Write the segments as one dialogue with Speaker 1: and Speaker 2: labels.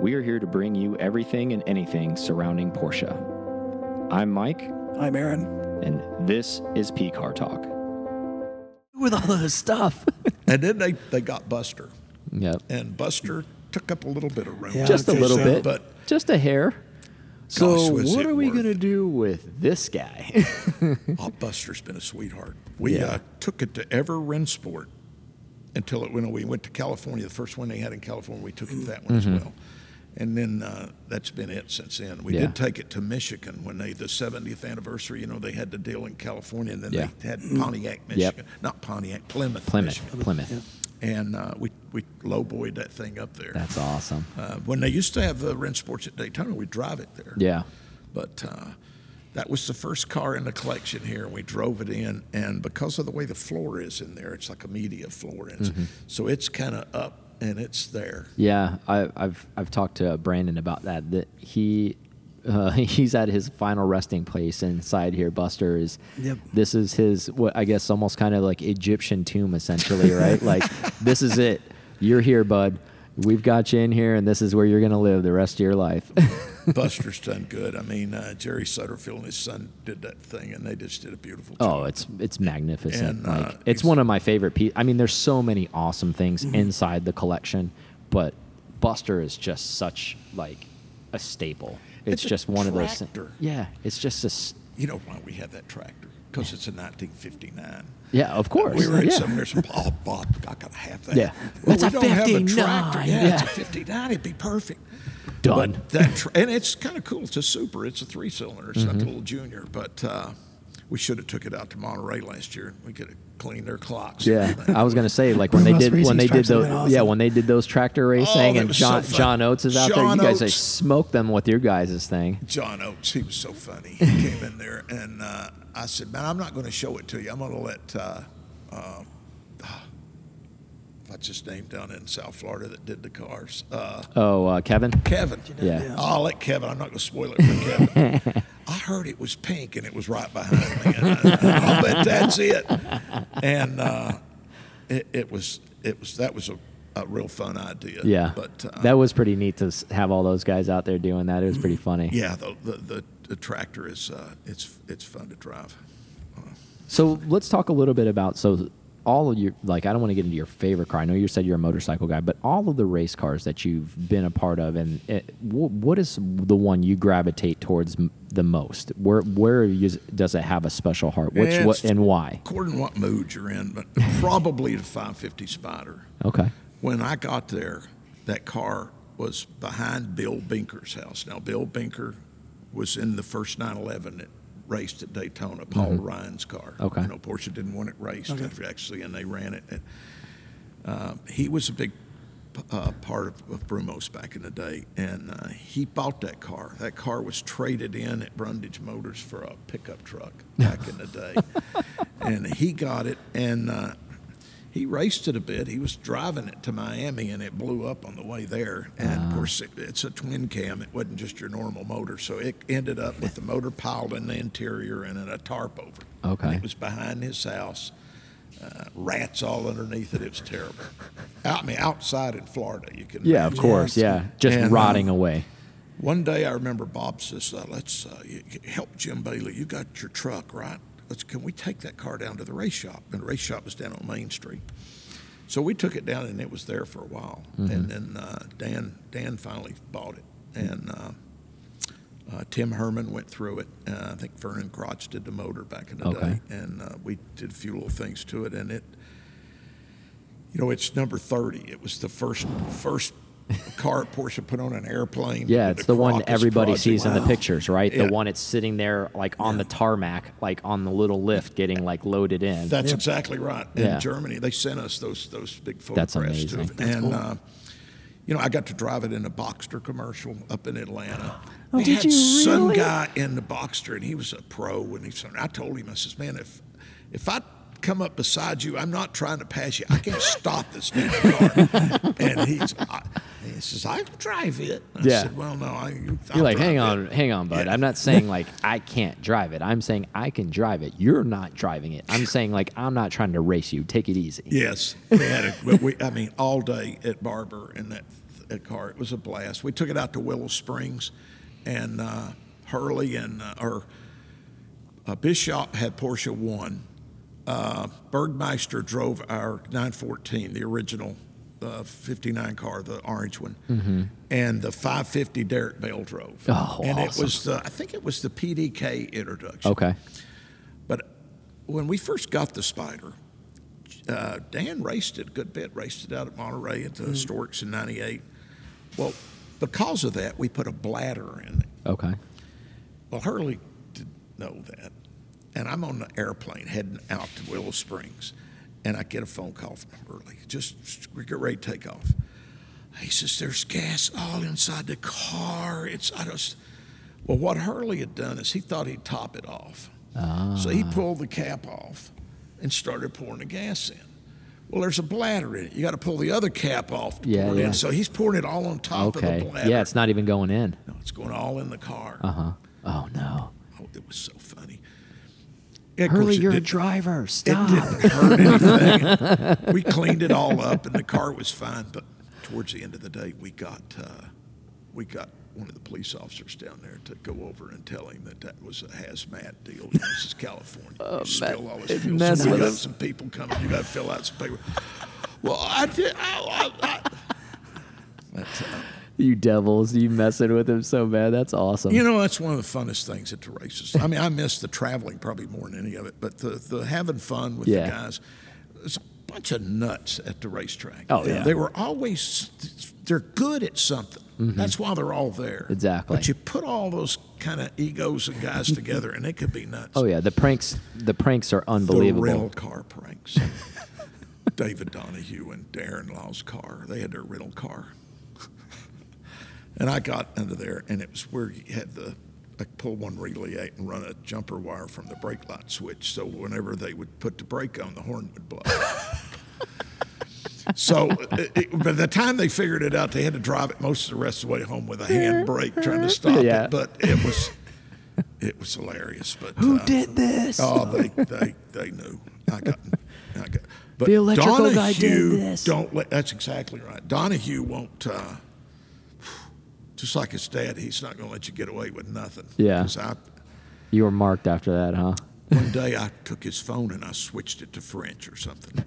Speaker 1: we are here to bring you everything and anything surrounding Porsche. I'm Mike,
Speaker 2: I'm Aaron.
Speaker 1: and this is P Car Talk.
Speaker 3: with all this stuff.
Speaker 4: And then they, they got Buster,
Speaker 1: Yep.
Speaker 4: and Buster took up a little bit of room.
Speaker 2: Yeah.
Speaker 1: Just a
Speaker 2: I'd say
Speaker 1: little
Speaker 2: so,
Speaker 1: bit,
Speaker 4: but-
Speaker 1: just a hair. So,
Speaker 4: Gosh, was
Speaker 1: what
Speaker 4: it
Speaker 1: are we
Speaker 4: worth
Speaker 1: going to do with this guy?
Speaker 4: Oh, Buster's been a sweetheart. We
Speaker 1: Yeah.
Speaker 4: uh, took it to ever Rensport until it went. We went to California. The first one they had in California, we took it to that one
Speaker 1: Mm-hmm.
Speaker 4: as well. And then uh, that's been it since then. We
Speaker 1: Yeah.
Speaker 4: did take it to Michigan when they the 70th anniversary. You know they had the deal in California, and then
Speaker 1: Yeah.
Speaker 4: they had Pontiac, Michigan, not Pontiac, Plymouth,
Speaker 1: Plymouth.
Speaker 4: Michigan.
Speaker 1: Plymouth.
Speaker 4: And uh, we we lowboyed that thing up there.
Speaker 1: That's awesome.
Speaker 4: Uh, when they used to have uh, Rensports at Daytona, we'd drive it there
Speaker 1: Yeah.
Speaker 4: but uh, that was the first car in the collection here, and we drove it in. And because of the way the floor is in there, it's like a media floor, and it's-
Speaker 1: Mm-hmm.
Speaker 4: so it's kind of up and it's there.
Speaker 1: Yeah, I, I've I've talked to Brandon about that. That he uh, he's at his final resting place inside here. Buster is.
Speaker 2: Yep.
Speaker 1: This is his what I guess almost kind of like Egyptian tomb essentially, right? like this is it. You're here, bud. We've got you in here, and this is where you're gonna live the rest of your life.
Speaker 4: Buster's done good. I mean, uh, Jerry Sutterfield and his son did that thing, and they just did a beautiful job.
Speaker 1: oh, it's it's magnificent.
Speaker 4: And, uh, Mm-hmm.
Speaker 1: like it's
Speaker 4: ex-
Speaker 1: one of my favorite pieces. I mean, there's so many awesome things inside the collection, but Buster is just such like a staple. It's,
Speaker 4: It's a
Speaker 1: just one of those. things.
Speaker 4: tractor.
Speaker 1: Yeah, it's just a s-
Speaker 4: You know why we have that tractor? Because it's a 1959.
Speaker 1: Yeah, of course.
Speaker 4: We were in
Speaker 1: yeah.
Speaker 4: somewhere, some, oh, Bob, I gotta have that.
Speaker 1: Yeah.
Speaker 4: Well,
Speaker 3: It's
Speaker 4: we
Speaker 3: a
Speaker 4: don't have a
Speaker 3: 59.
Speaker 4: tractor. Yeah, it's a
Speaker 1: Yeah.
Speaker 4: 59. It'd be perfect.
Speaker 1: Done.
Speaker 4: But that tr- and it's kind of cool. It's a super. It's a three cylinder. It's
Speaker 1: Mm-hmm.
Speaker 4: not the little junior. But uh, we should have took it out to Monterey last year. and We could have cleaned their clocks. and
Speaker 1: Yeah,
Speaker 4: everything.
Speaker 1: I was gonna say like when they
Speaker 2: Ross
Speaker 1: did when
Speaker 2: racing
Speaker 1: they did
Speaker 2: stripes have
Speaker 1: those
Speaker 2: been
Speaker 1: yeah
Speaker 2: awesome.
Speaker 1: when they did those tractor racing
Speaker 4: Oh, that
Speaker 1: and
Speaker 4: was so
Speaker 1: John
Speaker 4: fun.
Speaker 1: John Oates is out there.
Speaker 4: John
Speaker 1: You guys like
Speaker 4: Oates.
Speaker 1: smoked them with your guys' thing.
Speaker 4: John Oates, he was so funny. He came in there and uh, I said, "Man, I'm not going to show it to you. I'm going to let uh, uh, what's his name down in South Florida that did the cars, uh,
Speaker 1: Oh, uh, Kevin.
Speaker 4: Kevin.
Speaker 1: Yeah.
Speaker 2: Yeah.
Speaker 4: I'll let Kevin. I'm not going to spoil it for Kevin. I heard it was pink and it was right behind me. And I, will bet that's it. And uh, it, it was it was that was a, a real fun idea.
Speaker 1: Yeah,
Speaker 4: but uh,
Speaker 1: that was pretty neat to s- have all those guys out there doing that. It was
Speaker 4: Mm-hmm.
Speaker 1: pretty funny.
Speaker 4: yeah the the, the, the tractor is uh, it's it's fun to drive.
Speaker 1: So let's talk a little bit about so all of your like I don't want to get into your favorite car. I know you said you're a motorcycle guy, but all of the race cars that you've been a part of, and it, wh- what is the one you gravitate towards m- the most? Where where you, does it have a special heart? Which
Speaker 4: Yeah,
Speaker 1: what
Speaker 4: it's-
Speaker 1: and why?
Speaker 4: According to what mood you're in, but probably the 550 Spider.
Speaker 1: Okay.
Speaker 4: When I got there, that car was behind Bill Binker's house. Now, Bill Binker was in the first 911 that raced at Daytona, Paul Ryan's car.
Speaker 1: Okay.
Speaker 4: You know, Porsche didn't want it raced, actually, and they ran it. And, uh, he was a big p- uh, part of, of Brumos back in the day, and uh, he bought that car. That car was traded in at Brundage Motors for a pickup truck back in the day, and he got it and. Uh, he raced it a bit. He was driving it to Miami, and it blew up on the way there. And of course, it, it's a twin cam. It wasn't just your normal motor, so it ended up with the motor piled in the interior and then a tarp over. it. And
Speaker 1: Okay.
Speaker 4: it was behind his house rats all underneath it. It was terrible. Out, I mean, outside in Florida, you can.
Speaker 1: Yeah, of
Speaker 4: imagine.
Speaker 1: course. Yeah, just
Speaker 4: And, um,
Speaker 1: rotting away.
Speaker 4: One day, I remember Bob says, uh, "Let's uh, you, you help Jim Bailey. You got your truck, right? Let's can we take that car down to the race shop?" And the race shop was down on Main Street. So we took it down, and it was there for a while.
Speaker 1: Mm-hmm.
Speaker 4: And then uh, Dan Dan finally bought it, and uh, uh, Tim Herman went through it. Uh, I think Vernon Crotch did the motor back in the
Speaker 1: Okay.
Speaker 4: day, and uh, we did a few little things to it, and it. You know, it's number thirty. It was the first first car Porsche put on an airplane.
Speaker 1: Yeah,
Speaker 4: Did
Speaker 1: it's
Speaker 4: a
Speaker 1: the one
Speaker 4: Caracas
Speaker 1: everybody
Speaker 4: project.
Speaker 1: sees in the pictures, right?
Speaker 4: Yeah.
Speaker 1: The one it's sitting there like on the tarmac, like on the little lift, getting like loaded in.
Speaker 4: That's exactly right. In
Speaker 1: Yeah.
Speaker 4: Germany, they sent us those those big
Speaker 1: That's
Speaker 4: photographs. too.
Speaker 1: amazing.
Speaker 4: and uh, you know, I got to drive it in a Boxster commercial up in Atlanta.
Speaker 1: Oh,
Speaker 4: They
Speaker 1: did
Speaker 4: had
Speaker 1: you
Speaker 4: some
Speaker 1: really?
Speaker 4: guy in the Boxster, and he was a pro. And he said, I told him, I says, man, if if I come up beside you, I'm not trying to pass you. I can't stop this damn car. and he's, I, he says, I'll drive it. I
Speaker 1: Yeah.
Speaker 4: said, well, no, I.
Speaker 1: You're like, hang on, hang on, bud.
Speaker 4: Yeah.
Speaker 1: I'm not saying like I can't drive it. I'm saying I can drive it. You're not driving it. I'm saying like I'm not trying to race you. Take it easy.
Speaker 4: Yes, we had a, but we, I mean, all day at Barber and that a car. It was a blast. We took it out to Willow Springs, and uh, Hurley and uh, or uh, Bishop had Porsche One. Uh, Bergmeister drove our 914, the original uh, 59 car, the orange one, and the 550 Derek Bell drove.
Speaker 1: Mm-hmm. Oh,
Speaker 4: and it
Speaker 1: awesome.
Speaker 4: was the I think it was the PDK introduction.
Speaker 1: Okay.
Speaker 4: But when we first got the Spider, uh, Dan raced it a good bit, raced it out at Monterey at the Storks in 98. Well, because of that, we put a bladder in it.
Speaker 1: Okay.
Speaker 4: Well, Hurley didn't know that. And I'm on the airplane heading out to Willow Springs, and I get a phone call from Hurley. Just, we get ready to take off. He says, There's gas all inside the car. It's, I just, well, what Hurley had done is he thought he'd top it off. So he
Speaker 1: Ah.
Speaker 4: pulled the cap off and started pouring the gas in. Well, there's a bladder in it. You got to pull the other cap off to
Speaker 1: Yeah,
Speaker 4: pour it
Speaker 1: yeah.
Speaker 4: in. So he's pouring it all on top of the
Speaker 1: Okay.
Speaker 4: bladder.
Speaker 1: Yeah, it's not even going in.
Speaker 4: no, it's going all in the car.
Speaker 1: Uh huh. Oh no.
Speaker 4: Oh, it was so funny. Yeah, of course
Speaker 1: Hurley,
Speaker 4: it
Speaker 1: you're a
Speaker 4: didn't-
Speaker 1: driver.
Speaker 4: It
Speaker 1: Stop.
Speaker 4: didn't hurt anything. we cleaned it all up, and the car was fine. But towards the end of the day, we got uh, we got one of the police officers down there to go over and tell him that that was a hazmat deal. This is California. you spill all
Speaker 1: Oh, it
Speaker 4: this fuel.
Speaker 1: messed
Speaker 4: So we
Speaker 1: with
Speaker 4: got
Speaker 1: us.
Speaker 4: some people coming. You got to fill out some paper. Well, I did. I, I, I, but, uh,
Speaker 1: You devils, you messing with him so bad. That's awesome.
Speaker 4: You know, that's one of the funnest things at the races. I mean, I miss the traveling probably more than any of it, but the, the having fun with
Speaker 1: Yeah.
Speaker 4: the guys. It's a bunch of nuts at the racetrack.
Speaker 1: Oh, yeah.
Speaker 4: They were always, they're good at something. That's why they're all there.
Speaker 1: Mm-hmm. Exactly.
Speaker 4: But you put all those kind of egos and guys together, and they could be nuts.
Speaker 1: oh yeah, the pranks. The pranks are
Speaker 4: The
Speaker 1: unbelievable.
Speaker 4: rental car pranks. David Donahue and Darren Law's car. They had their rental car. and I got under there, and it was where you had the, I pull one relay out and run a jumper wire from the brake light switch. So whenever they would put the brake on, the horn would blow. So, it, it, by the time they figured it out, they had to drive it most of the rest of the way home with a hand brake trying to stop
Speaker 1: Yeah.
Speaker 4: it. But it was, it was hilarious. But
Speaker 1: Who
Speaker 4: uh,
Speaker 1: did this?
Speaker 4: Oh, they they they knew. I got. I got but
Speaker 1: The electrical
Speaker 4: Donahue,
Speaker 1: guy did this.
Speaker 4: Don't let. That's exactly right. Donahue won't. Uh, just like his dad, he's not going to let you get away with nothing.
Speaker 1: Yeah.
Speaker 4: 'Cause I,
Speaker 1: You were marked after that, huh?
Speaker 4: one day I took his phone and I switched it to French or something.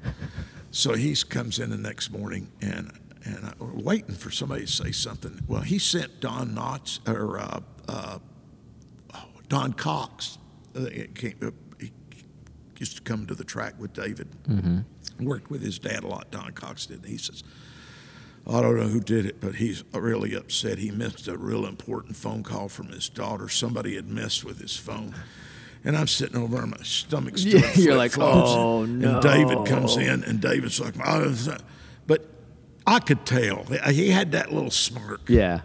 Speaker 4: So he comes in the next morning and and I, we're waiting for somebody to say something. Well, he sent Don Knotts or uh, uh, oh, Don Cox. Uh, it came, uh, he used to come to the track with David.
Speaker 1: Mm-hmm.
Speaker 4: Worked with his dad a lot. Don Cox did. He says. I don't know who did it, but he's really upset. He missed a real important phone call from his daughter. Somebody had messed with his phone. And I'm sitting over and my stomach's doing
Speaker 1: Yeah, you're like,
Speaker 4: flip-flops.
Speaker 1: "Oh, no."
Speaker 4: And David comes in, and David's like, "I don't know." but I could tell. He had that little smirk.
Speaker 1: Yeah.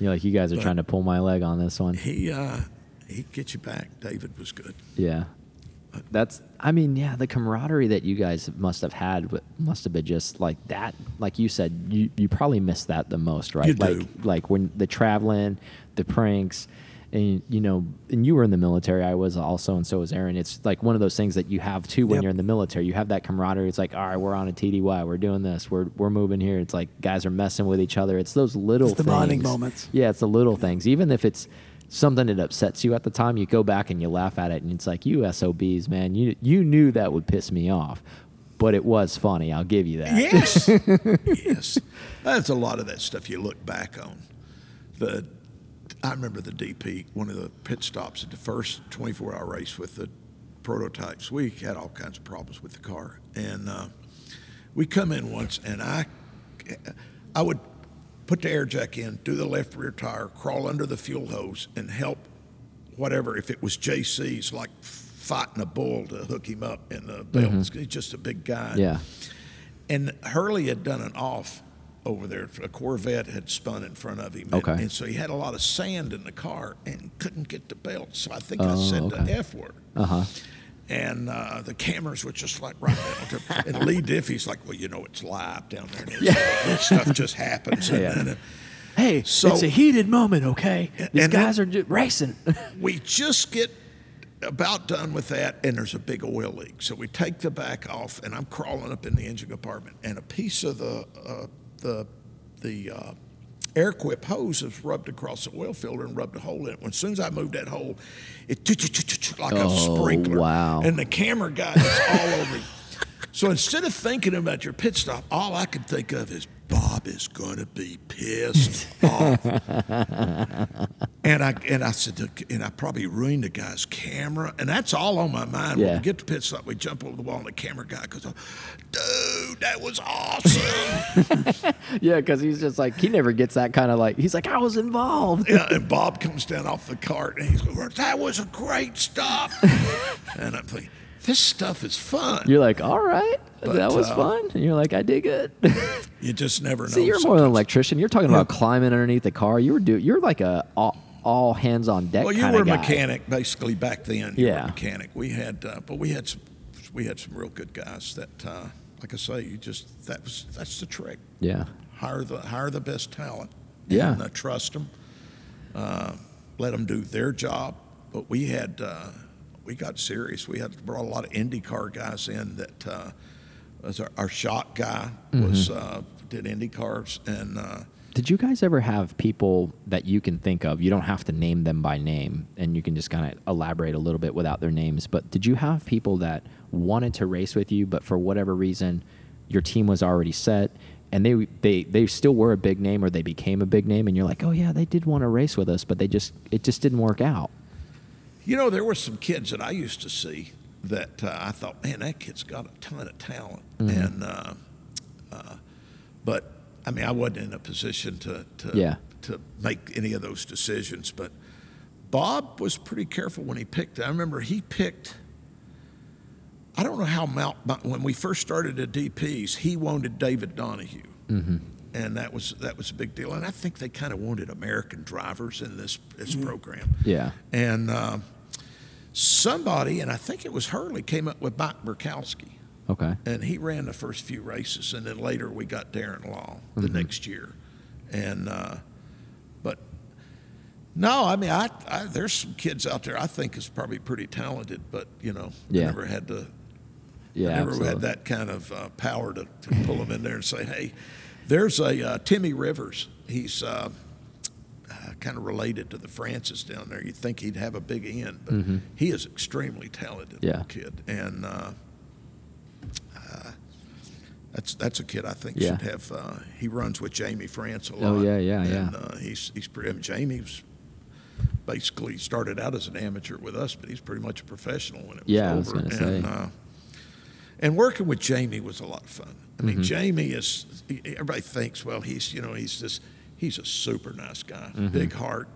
Speaker 1: You're like, you guys are trying to pull my leg on this one.
Speaker 4: He, uh, he'd get you back. David was good.
Speaker 1: Yeah. That's, I mean, yeah, the camaraderie that you guys must have had w- must have been just like that. Like you said, you, you probably miss that the most, right?
Speaker 4: You
Speaker 1: like,
Speaker 4: do.
Speaker 1: like when the traveling, the pranks, and you know, and you were in the military, I was also, and so was Aaron. It's like one of those things that you have too when
Speaker 3: Yep.
Speaker 1: you're in the military. You have that camaraderie. It's like, all right, we're on a TDY, we're doing this, we're, we're moving here. It's like guys are messing with each other. It's those little
Speaker 3: It's the
Speaker 1: things.
Speaker 3: bonding moments.
Speaker 1: Yeah, it's the little things. Even if it's something that upsets you at the time, you go back and you laugh at it, and it's like, you SOBs, man, you you knew that would piss me off, but it was funny. I'll give you that.
Speaker 4: Yes. yes. That's a lot of that stuff you look back on. The I remember the DP, one of the pit stops at the first 24 hour race with the prototypes. We had all kinds of problems with the car. And uh, we come in once, and I, I would put the air jack in, do the left rear tire, crawl under the fuel hose, and help whatever. If it was JC's, like fighting a bull to hook him up in the belt. He's just a big guy.
Speaker 1: Yeah.
Speaker 4: And Hurley had done an off over there. A Corvette had spun in front of him. And-
Speaker 1: Okay.
Speaker 4: And, so he had a lot of sand in the car and couldn't get the belt. So I think I said
Speaker 1: Oh, okay.
Speaker 4: the F word. Uh-huh. And uh, the cameras were just like right down to, and Lee Diffie's like, well, you know, it's live down there. It's- This stuff just happens. And, uh,
Speaker 1: Yeah.
Speaker 4: then
Speaker 3: Hey,
Speaker 4: So-
Speaker 3: it's a heated moment, okay? These
Speaker 4: and
Speaker 3: guys are just racing.
Speaker 4: we just get about done with that, and there's a big oil leak. So we take the back off, and I'm crawling up in the engine compartment, and a piece of the uh, the the uh, air quip hose that's rubbed across the oil filter and rubbed a hole in it. When, as soon as I moved that hole, it like a
Speaker 1: Oh,
Speaker 4: sprinkler.
Speaker 1: wow.
Speaker 4: And the camera guy is all over me. So instead of thinking about your pit stop, all I could think of is Bob is gonna be pissed off. And I and I said to- and I probably ruined the guy's camera, and that's all on my mind. When
Speaker 1: Yeah.
Speaker 4: we get to pit stop, we jump over the wall, and the camera guy goes, "Dude, that was awesome!"
Speaker 1: Yeah, because he's just like he never gets that kind of like he's like I was involved.
Speaker 4: Yeah, and Bob comes down off the cart and he's going, That was a great stuff. and I'm thinking, This stuff is fun.
Speaker 1: You're like, all right,
Speaker 4: But,
Speaker 1: that was
Speaker 4: uh,
Speaker 1: fun. And you're like, I did good.
Speaker 4: You just never know.
Speaker 1: See, you're more than an
Speaker 4: sometimes.
Speaker 1: electrician. You're talking about climbing underneath the car. You were do you're like a all, all hands on deck.
Speaker 4: Well, you
Speaker 1: kinda
Speaker 4: were a
Speaker 1: guy.
Speaker 4: mechanic basically back then. You were a
Speaker 1: Yeah.
Speaker 4: mechanic. We had, uh, but we had some, we had some real good guys that, uh, like I say, you just that was that's the trick.
Speaker 1: Yeah,
Speaker 4: Hire the hire the best talent.
Speaker 1: Yeah.
Speaker 4: And, uh, trust them. Uh, let them do their job. But we had uh, we got serious. We had brought a lot of IndyCar guys in that uh, was our, our shot guy
Speaker 1: Mm-hmm.
Speaker 4: was uh, did IndyCars and. Uh,
Speaker 1: Did you guys ever have people that you can think of? You don't have to name them by name, and you can just kind of elaborate a little bit without their names. But did you have people that wanted to race with you, but for whatever reason, your team was already set, and they they they still were a big name, or they became a big name, and you're like, oh yeah, they did want to race with us, but they just it just didn't work out.
Speaker 4: You know, there were some kids that I used to see that uh, I thought, man, that kid's got a ton of talent. And, uh, uh, but I mean, I wasn't in a position to, to,
Speaker 1: Yeah.
Speaker 4: to make any of those decisions. But Bob was pretty careful when he picked. I remember he picked, I don't know how Mount, but when we first started at DP's, he wanted David Donahue. And that was that was a big deal, and I think they kind of wanted American drivers in this this program.
Speaker 1: Yeah.
Speaker 4: And uh, somebody, and I think it was Hurley, came up with Mike Burkowski,
Speaker 1: Okay.
Speaker 4: and he ran the first few races, and then later we got Darren Law the next year, and uh, but no, I mean, I, I there's some kids out there I think is probably pretty talented, but you know, I
Speaker 1: Yeah.
Speaker 4: never had to,
Speaker 1: Yeah.
Speaker 4: never had
Speaker 1: absolutely.
Speaker 4: that kind of uh, power to, to pull them in there and say, hey, there's a uh, Timmy Rivers, he's. Uh, uh, kind of related to the Francis down there. You'd think he'd have a big end, but he is extremely talented
Speaker 1: Mm-hmm. Yeah.
Speaker 4: little kid, and uh, uh, that's that's a kid I think
Speaker 1: Yeah.
Speaker 4: should have. Uh, he runs with Jamie France a lot.
Speaker 1: Oh, yeah, yeah, yeah.
Speaker 4: and, Uh, he's he's pretty. I mean, Jamie's basically started out as an amateur with us, but he's pretty much a professional when it was
Speaker 1: Yeah, I
Speaker 4: over.
Speaker 1: was gonna
Speaker 4: and,
Speaker 1: say.
Speaker 4: Uh, and working with Jamie was a lot of fun. I
Speaker 1: Mm-hmm.
Speaker 4: mean, Jamie is everybody thinks, well, he's you know he's this he's a super nice guy,
Speaker 1: Mm-hmm.
Speaker 4: big heart.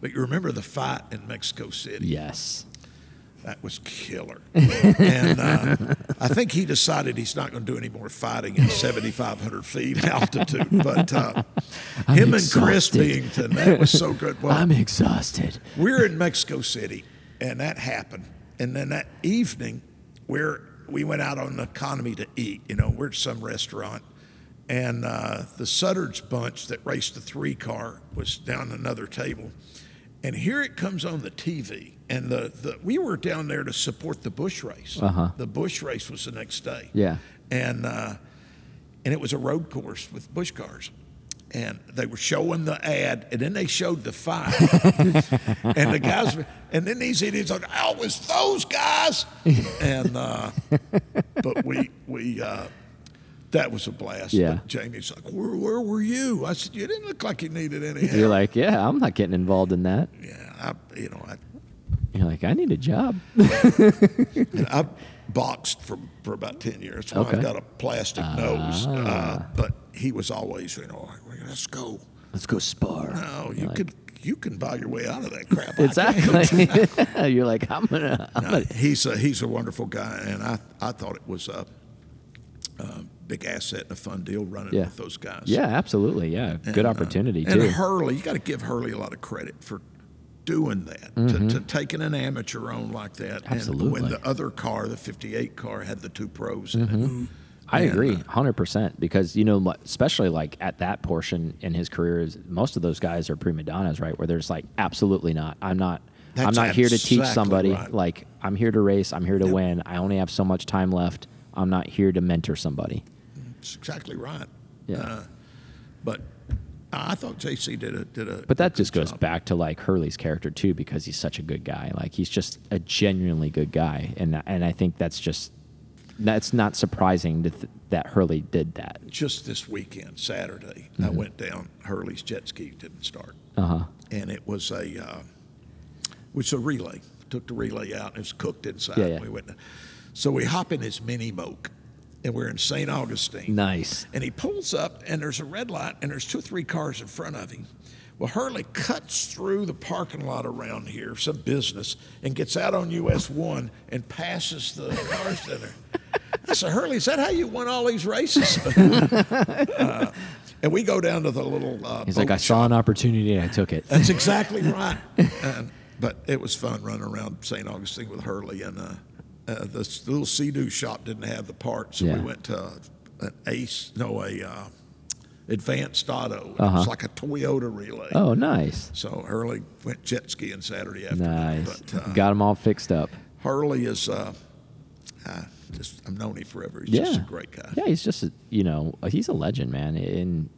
Speaker 4: But you remember the fight in Mexico City?
Speaker 1: Yes.
Speaker 4: That was killer. and uh, I think he decided he's not going to do any more fighting at 7,500 feet altitude. But uh,
Speaker 1: I'm
Speaker 4: him and Chris
Speaker 1: exhausted.
Speaker 4: Bington, that was so good. Well,
Speaker 1: I'm exhausted.
Speaker 4: we're in Mexico City, and that happened. And then that evening, we're we went out on the economy to eat. You know, we're at some restaurant, and uh, the Sutter's bunch that raced the three car was down another table, and here it comes on the TV. And the, the we were down there to support the bush race.
Speaker 1: Uh-huh.
Speaker 4: The bush race was the next day
Speaker 1: Yeah.
Speaker 4: and uh, and it was a road course with bush cars. And they were showing the ad, and then they showed the fight. and the guys, were, and then these idiots are, oh, it was those guys. And uh, but we we uh, that was a blast.
Speaker 1: Yeah.
Speaker 4: But Jamie's like, where, where were you? I said, you didn't look like you needed any
Speaker 1: You're
Speaker 4: help.
Speaker 1: like, yeah, I'm not getting involved in that.
Speaker 4: yeah, I, you know, I
Speaker 1: You're like, I need a job.
Speaker 4: I boxed for, for about 10 years. Well,
Speaker 1: Okay. Ah.
Speaker 4: I've got a plastic nose. Uh, but he was always, you know, let's go.
Speaker 3: Let's go spar.
Speaker 4: No, you could you can buy your way out of that crap. I
Speaker 1: Exactly. You're like, I'm gonna.
Speaker 4: can't. No, he's a he's a wonderful guy, and I I thought it was a, a big asset and a fun deal running
Speaker 1: Yeah.
Speaker 4: with those guys.
Speaker 1: Yeah, absolutely. Yeah, good
Speaker 4: And, uh,
Speaker 1: opportunity
Speaker 4: and
Speaker 1: too.
Speaker 4: Hurley, you got to give Hurley a lot of credit for doing that, to, to taking an amateur on like that. And
Speaker 1: Mm-hmm. Absolutely.
Speaker 4: when the other car, the 58 car, had the two pros in
Speaker 1: Mm-hmm.
Speaker 4: it.
Speaker 1: I
Speaker 4: and,
Speaker 1: agree,
Speaker 4: uh,
Speaker 1: hundred percent. Because you know, like- especially like at that portion in his career, is most of those guys are prima donnas, right? Where there's like, absolutely not. I'm not. I'm
Speaker 4: That's
Speaker 1: not here to teach
Speaker 4: exactly
Speaker 1: somebody.
Speaker 4: right.
Speaker 1: Like, I'm here to race. I'm here to win. I only have so much time left. I'm not here to mentor somebody.
Speaker 4: Uh, That's exactly right.
Speaker 1: Yeah.
Speaker 4: Uh, but I thought JC did a did a.
Speaker 1: But
Speaker 4: a
Speaker 1: that
Speaker 4: good
Speaker 1: just goes
Speaker 4: job.
Speaker 1: back to like Hurley's character too, because he's such a good guy. Like he's just a genuinely good guy, and and I think that's just that's not surprising to th- that Hurley did that.
Speaker 4: Just this weekend, Saturday,
Speaker 1: Mm-hmm.
Speaker 4: I went down. Hurley's jet ski didn't start,
Speaker 1: Uh huh.
Speaker 4: and it was a uh, was a relay. Took the relay out and it was cooked inside.
Speaker 1: Yeah, yeah.
Speaker 4: We went, so we hop in his mini moke, and we're in St. Augustine.
Speaker 1: Nice.
Speaker 4: And he pulls up, and there's a red light, and there's two or three cars in front of him. Well, Hurley cuts through the parking lot around here, some business, and gets out on US 1 and passes the cars that are. I said, Hurley, is that how you won all these races? Uh, and we go down to the little. Uh,
Speaker 1: He's like,
Speaker 4: boat
Speaker 1: I saw an opportunity and I took it.
Speaker 4: that's exactly right. and, but it was fun running around St. Augustine with Hurley, and uh, uh, this little Sea-Doo shop didn't have the parts, so
Speaker 1: Yeah.
Speaker 4: we went to uh, an Ace, no, a uh, Advanced Auto. It
Speaker 1: Uh-huh.
Speaker 4: was like a Toyota relay.
Speaker 1: Oh, nice,
Speaker 4: So Hurley went jet skiing Saturday afternoon.
Speaker 1: nice.
Speaker 4: But uh,
Speaker 1: Got him all fixed up.
Speaker 4: Hurley is, uh, uh, just I've known him forever. He's
Speaker 1: yeah,
Speaker 4: just a great guy.
Speaker 1: Yeah, he's just a, you know he's a legend, man. In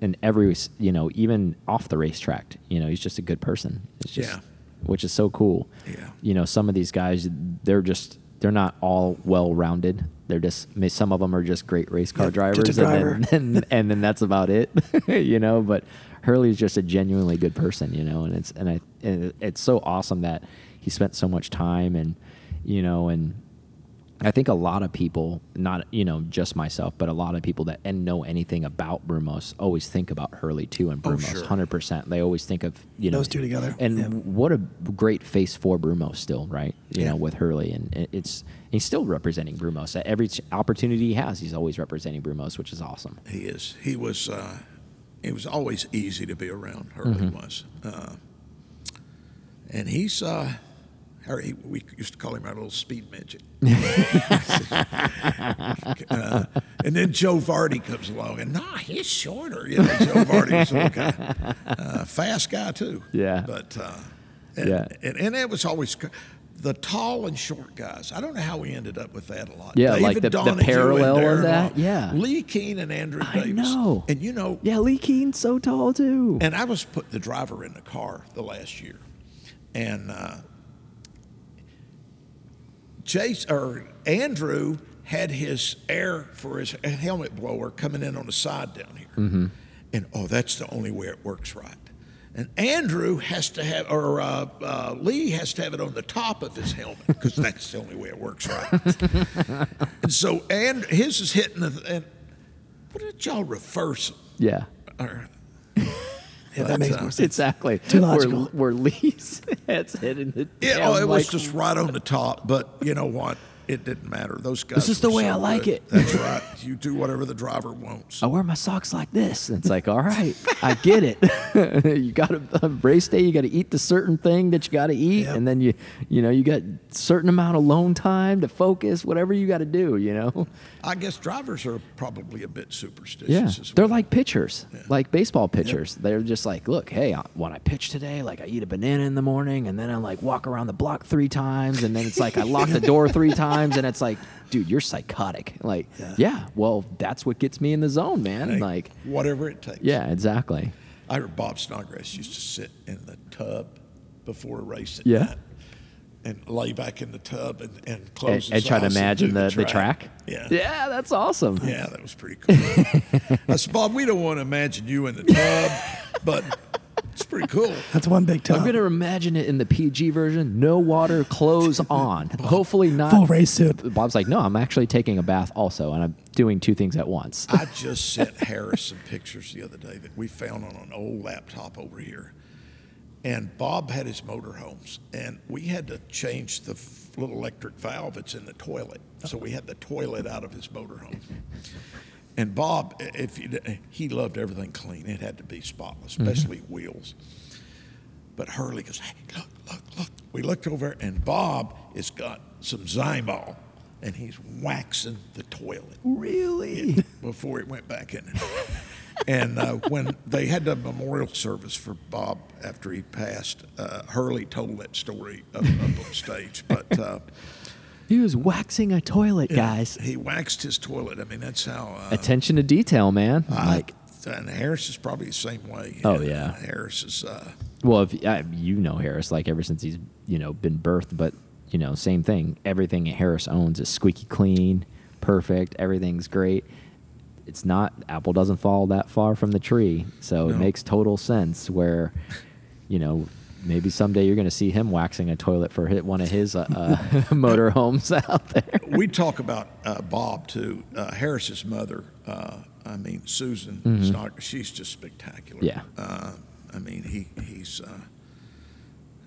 Speaker 1: in every you know even off the racetrack, you know he's just a good person. It's just,
Speaker 4: Yeah.
Speaker 1: which is so cool.
Speaker 4: Yeah.
Speaker 1: you know some of these guys they're just they're not all well rounded. They're just I mean, some of them are just great race car
Speaker 3: Yeah,
Speaker 1: drivers,
Speaker 3: just a
Speaker 1: and then and, and then that's about it. you know, but Hurley's just a genuinely good person. You know, and it's and I and it- it's so awesome that he spent so much time and you know and I think a lot of people, not you know just myself, but a lot of people that and know anything about Brumos always think about Hurley too and Brumos,
Speaker 4: sure.
Speaker 1: hundred percent. They always think of you know
Speaker 3: Those two together,
Speaker 1: And
Speaker 3: yeah.
Speaker 1: what a great face for Brumos still, right? You
Speaker 4: Yeah.
Speaker 1: know with Hurley, and it- it's he's still representing Brumos at every ch- opportunity he has. He's always representing Brumos, which is awesome.
Speaker 4: He is. He was. Uh, it was always easy to be around. Hurley
Speaker 1: Mm-hmm.
Speaker 4: was. Uh, and he's. Uh, or he, we used to call him our little speed midget. Uh, and then Joe Vardy comes along, and nah, he's shorter. You know, Joe Vardy was a little guy, uh, fast guy too.
Speaker 1: Yeah.
Speaker 4: But uh, and,
Speaker 1: Yeah.
Speaker 4: and and it was always c- the tall and short guys. I don't know how we ended up with that a lot.
Speaker 1: Yeah, like the- the
Speaker 4: Donahue and
Speaker 1: parallel of
Speaker 4: Darren
Speaker 1: that,
Speaker 4: Law.
Speaker 1: yeah.
Speaker 4: Lee Keene and Andrew
Speaker 1: I
Speaker 4: Davis.
Speaker 1: know.
Speaker 4: And you know,
Speaker 1: Yeah, Lee Keen's so tall too.
Speaker 4: and I was put the driver in the car the last year, and uh, Jace or Andrew had his air for his helmet blower coming in on the side down here, and oh, that's the only way it works right. And Andrew has to have, or uh, uh, Lee has to have it on the top of his helmet because that's the only way it works right. and so, and his is hitting the. And, what did y'all reverse? 'em?
Speaker 1: yeah.
Speaker 4: Or,
Speaker 3: Yeah, that makes more sense.
Speaker 1: Exactly.
Speaker 3: Too
Speaker 1: Where-
Speaker 3: logical.
Speaker 1: Where, Lee's head's hitting the
Speaker 4: Yeah,
Speaker 1: down,
Speaker 4: oh, it was
Speaker 1: like,
Speaker 4: just right on the top. But you know what? It didn't matter. Those guys.
Speaker 1: is
Speaker 4: were
Speaker 1: the way
Speaker 4: so
Speaker 1: I like
Speaker 4: good.
Speaker 1: it. Oh.
Speaker 4: That's right. You do whatever the driver wants.
Speaker 1: I wear my socks like this. And it's like, all right, I get it. you got to on race day, you got to eat the certain thing that you got to eat,
Speaker 3: Yep.
Speaker 1: and then you, you know, you got certain amount of alone time to focus, whatever you got to do, you know.
Speaker 4: I guess drivers are probably a bit superstitious.
Speaker 1: Yeah,
Speaker 4: as
Speaker 1: they're
Speaker 4: well.
Speaker 1: like pitchers, like baseball pitchers. They're just like, look, hey, I, when I pitch today, like I eat a banana in the morning, and then I like walk around the block three times, and then it's like I lock the door three times, and it's like, dude, you're psychotic. Like, yeah, well, that's what gets me in the zone, man.
Speaker 4: Hey,
Speaker 1: Like,
Speaker 4: whatever it takes.
Speaker 1: yeah, exactly.
Speaker 4: I heard Bob Snodgrass used to sit in the tub before a race at
Speaker 1: Yeah.
Speaker 4: night and lay back in the tub and, and close
Speaker 1: and
Speaker 4: his
Speaker 1: try to
Speaker 4: eyes and
Speaker 1: imagine
Speaker 4: do
Speaker 1: the, the track.
Speaker 4: Yeah.
Speaker 1: yeah, that's awesome.
Speaker 4: Yeah, that was pretty cool. I said, Bob, we don't want to imagine you in the tub, but it's pretty cool.
Speaker 3: That's one big tub.
Speaker 1: I'm gonna imagine it in the PG version. No water, clothes on. Hopefully not.
Speaker 3: Full race suit.
Speaker 1: Bob's like, no, I'm actually taking a bath also, and I'm doing two things at once.
Speaker 4: I just sent Harris some pictures the other day that we found on an old laptop over here. And Bob had his motorhomes, and we had to change the f- little electric valve that's in the toilet. So we had the toilet out of his motorhome. And Bob, i- if you, d- he loved everything clean, it had to be spotless, especially wheels. But Hurley goes, "Hey, look, look, look!" We looked over, and Bob has got some Zymol, and he's waxing the toilet
Speaker 1: Really?
Speaker 4: before it went back in. and uh, when they had the memorial service for Bob after he passed, uh, Hurley told that story up, up on stage. But uh,
Speaker 1: He was waxing a toilet, guys.
Speaker 4: he waxed his toilet. I mean, that's how. Uh,
Speaker 1: Attention to detail, man.
Speaker 4: I
Speaker 1: like,
Speaker 4: and Harris is probably the same way.
Speaker 1: Oh,
Speaker 4: Uh,
Speaker 1: yeah.
Speaker 4: Harris is. Uh,
Speaker 1: Well, if uh, you know Harris, like ever since he's you know been birthed, but you know same thing. Everything Harris owns is squeaky clean, perfect. Everything's great. It's not Apple doesn't fall that far from the tree, so it
Speaker 4: No.
Speaker 1: makes total sense. Where, you know, maybe someday you're going to see him waxing a toilet for hit one of his uh, uh, motorhomes out there.
Speaker 4: we talk about uh, Bob too. Uh, Harris's mother, uh, I mean Susan, Stock- she's just spectacular.
Speaker 1: Mm-hmm. Yeah.
Speaker 4: Uh, I mean he he's uh,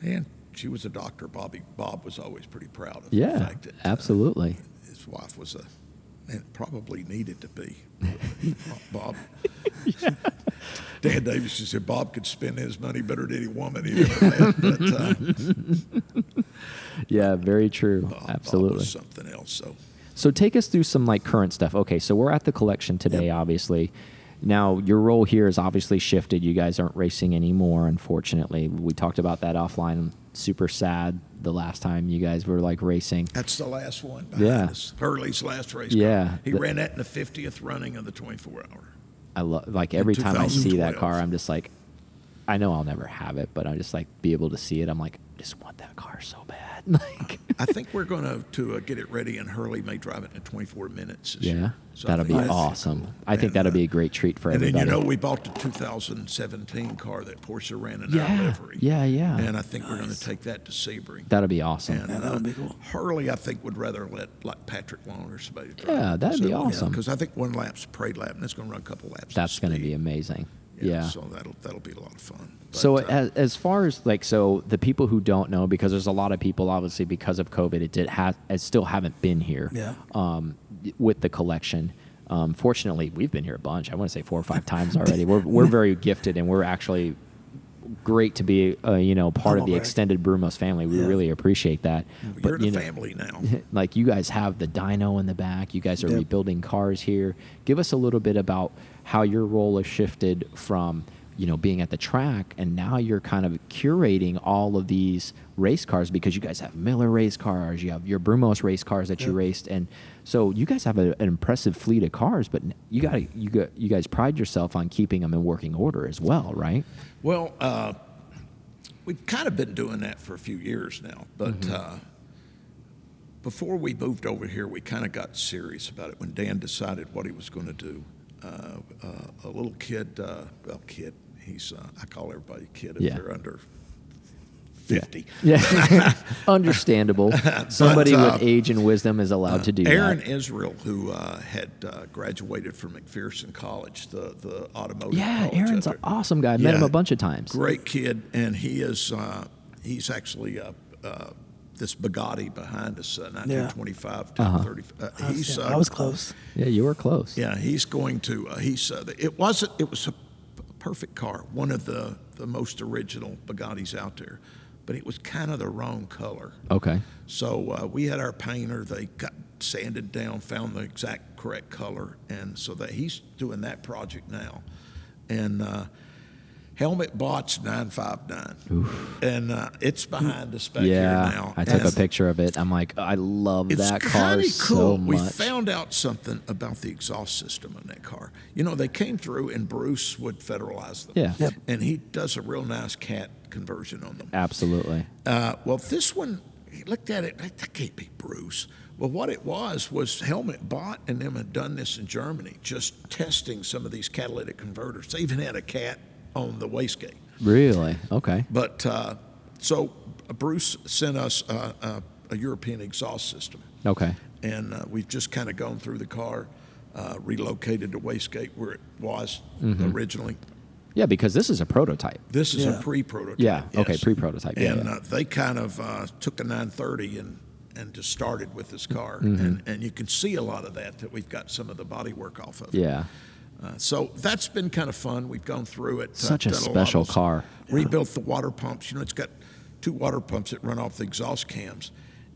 Speaker 4: and she was a doctor. Bobby Bob was always pretty proud of the
Speaker 1: Yeah,
Speaker 4: fact that uh,
Speaker 1: absolutely.
Speaker 4: his wife was a and probably needed to be Bob. Dan Davis just said Bob could spend his money better than any woman he ever met. But, uh,
Speaker 1: Yeah, very true.
Speaker 4: Bob- Bob
Speaker 1: absolutely.
Speaker 4: was something else. So
Speaker 1: So take us through some like current stuff. Okay, so we're at the collection today, obviously. Now your role here is obviously shifted. You guys aren't racing anymore, unfortunately. We talked about that offline. Super sad the last time you guys were like racing.
Speaker 4: That's the last one behind
Speaker 1: Yeah.
Speaker 4: us. Hurley's last race.
Speaker 1: Yeah.
Speaker 4: He
Speaker 1: Th-
Speaker 4: ran that in the 50th running of the 24 hour.
Speaker 1: I love like every time I see that
Speaker 4: 2012.
Speaker 1: car, I'm just like, I know I'll never have it, but I'm just like be able to see it. I'm like, I just want that car so bad. Like,
Speaker 4: I think we're going to to uh, get it ready, and Hurley may drive it in 24 minutes. This
Speaker 1: yeah,
Speaker 4: year. So I
Speaker 1: that'll be
Speaker 4: think that's
Speaker 1: awesome.
Speaker 4: cool.
Speaker 1: I think
Speaker 4: And,
Speaker 1: that'll
Speaker 4: uh,
Speaker 1: be a great treat for
Speaker 4: And then
Speaker 1: everybody.
Speaker 4: you know we bought the 2017 car that Porsche ran in
Speaker 1: Yeah.
Speaker 4: our livery.
Speaker 1: Yeah, yeah.
Speaker 4: And I think we're going to take that to Sebring.
Speaker 1: that'll be awesome.
Speaker 4: and,
Speaker 3: Yeah, that would be cool.
Speaker 4: Hurley, I think, would rather let like Patrick Long or somebody drive.
Speaker 1: Yeah, that'd be awesome.
Speaker 4: Because I think one lap's a parade lap, and it's going to run a couple laps. of
Speaker 1: That's going to
Speaker 4: speed.
Speaker 1: be amazing. yeah.
Speaker 4: So that'll that'll be a lot of fun. But,
Speaker 1: So
Speaker 4: uh,
Speaker 1: as, as far as like so the people who don't know because there's a lot of people obviously because of COVID it did ha- it still haven't been here
Speaker 3: Yeah.
Speaker 1: um, with the collection. Um, fortunately, we've been here a bunch. I want to say four or five times already. We're we're very gifted and we're actually great to be uh, you know part
Speaker 4: Oh,
Speaker 1: of
Speaker 3: Humble
Speaker 1: the
Speaker 3: brag.
Speaker 1: extended Brumos family. We
Speaker 3: Yeah.
Speaker 1: really appreciate that.
Speaker 4: you're
Speaker 1: you
Speaker 4: the
Speaker 1: know,
Speaker 4: family now.
Speaker 1: like you guys have the dyno in the back you guys are
Speaker 3: Yep.
Speaker 1: rebuilding cars here give us a little bit about how your role has shifted from you know being at the track and now you're kind of curating all of these race cars because you guys have miller race cars you have your brumos race cars that you
Speaker 3: Yep.
Speaker 1: raced and so you guys have a, an impressive fleet of cars but you got you got you guys pride yourself on keeping them in working order as well right
Speaker 4: Well, uh, we've kind of been doing that for a few years now, but
Speaker 1: Mm-hmm.
Speaker 4: uh, before we moved over here, we kind of got serious about it when Dan decided what he was going to do. Uh, uh, a little kid, uh, well, kid, he's uh, I call everybody kid if
Speaker 1: Yeah.
Speaker 4: they're under fifty.
Speaker 1: yeah understandable somebody
Speaker 4: uh,
Speaker 1: with age and wisdom is allowed to do
Speaker 4: Aaron
Speaker 1: that
Speaker 4: Israel, who uh, had uh, graduated from McPherson College, the the automotive.
Speaker 1: yeah
Speaker 4: college
Speaker 1: aaron's
Speaker 4: up
Speaker 1: an
Speaker 4: there.
Speaker 1: awesome guy i met him
Speaker 4: Yeah.
Speaker 1: a bunch of times
Speaker 4: Great kid, and he is uh, he's actually uh, uh, this Bugatti behind us, uh, 1925 to 30. Uh,
Speaker 3: I was,
Speaker 4: he's
Speaker 3: yeah,
Speaker 4: uh,
Speaker 3: I was close.
Speaker 1: Yeah, you were close.
Speaker 4: yeah, he's going to uh, he's uh, it wasn't it was a p- perfect car, one of the the most original Bugattis out there, but it was kind of the wrong color.
Speaker 1: Okay.
Speaker 4: So uh, we had our painter. They got sanded down, found the exact correct color, and so that he's doing that project now. And uh, helmet bots nine five nine, and uh, it's behind us back
Speaker 1: yeah.
Speaker 4: here now.
Speaker 1: I took a
Speaker 4: And
Speaker 1: picture of it. I'm like, I love
Speaker 4: It's
Speaker 1: that car
Speaker 4: kinda
Speaker 1: so much.
Speaker 4: We found out something about the exhaust system in that car. You know, they came through, and Bruce would federalize them.
Speaker 1: Yeah. Yep.
Speaker 4: and he does a real nice cat conversion on them.
Speaker 1: Absolutely.
Speaker 4: Uh, well, this one, he looked at it, that can't be Bruce. Well, what it was was Helmut Bott and them had done this in Germany, just testing some of these catalytic converters. They even had a cat on the wastegate.
Speaker 1: Really? Okay.
Speaker 4: But uh, so uh, Bruce sent us uh, uh, a European exhaust system,
Speaker 1: Okay.
Speaker 4: and uh, we've just kind of gone through the car, uh, relocated the wastegate where it was originally.
Speaker 1: Yeah, because this is a prototype.
Speaker 4: This is
Speaker 3: Yeah.
Speaker 4: a pre-prototype.
Speaker 1: Yeah, okay, pre-prototype, yeah,
Speaker 4: And
Speaker 1: yeah.
Speaker 4: Uh, they kind of uh, took a 930 and and just started with this car,
Speaker 1: Mm-hmm.
Speaker 4: and and you can see a lot of that that we've got some of the body work off of. it.
Speaker 1: Yeah.
Speaker 4: Uh, so that's been kind of fun. We've gone through it. uh,
Speaker 1: Such a
Speaker 4: done lot
Speaker 1: special
Speaker 4: of-
Speaker 1: car.
Speaker 4: Rebuilt the water pumps. You know, it's got two water pumps that run off the exhaust cams,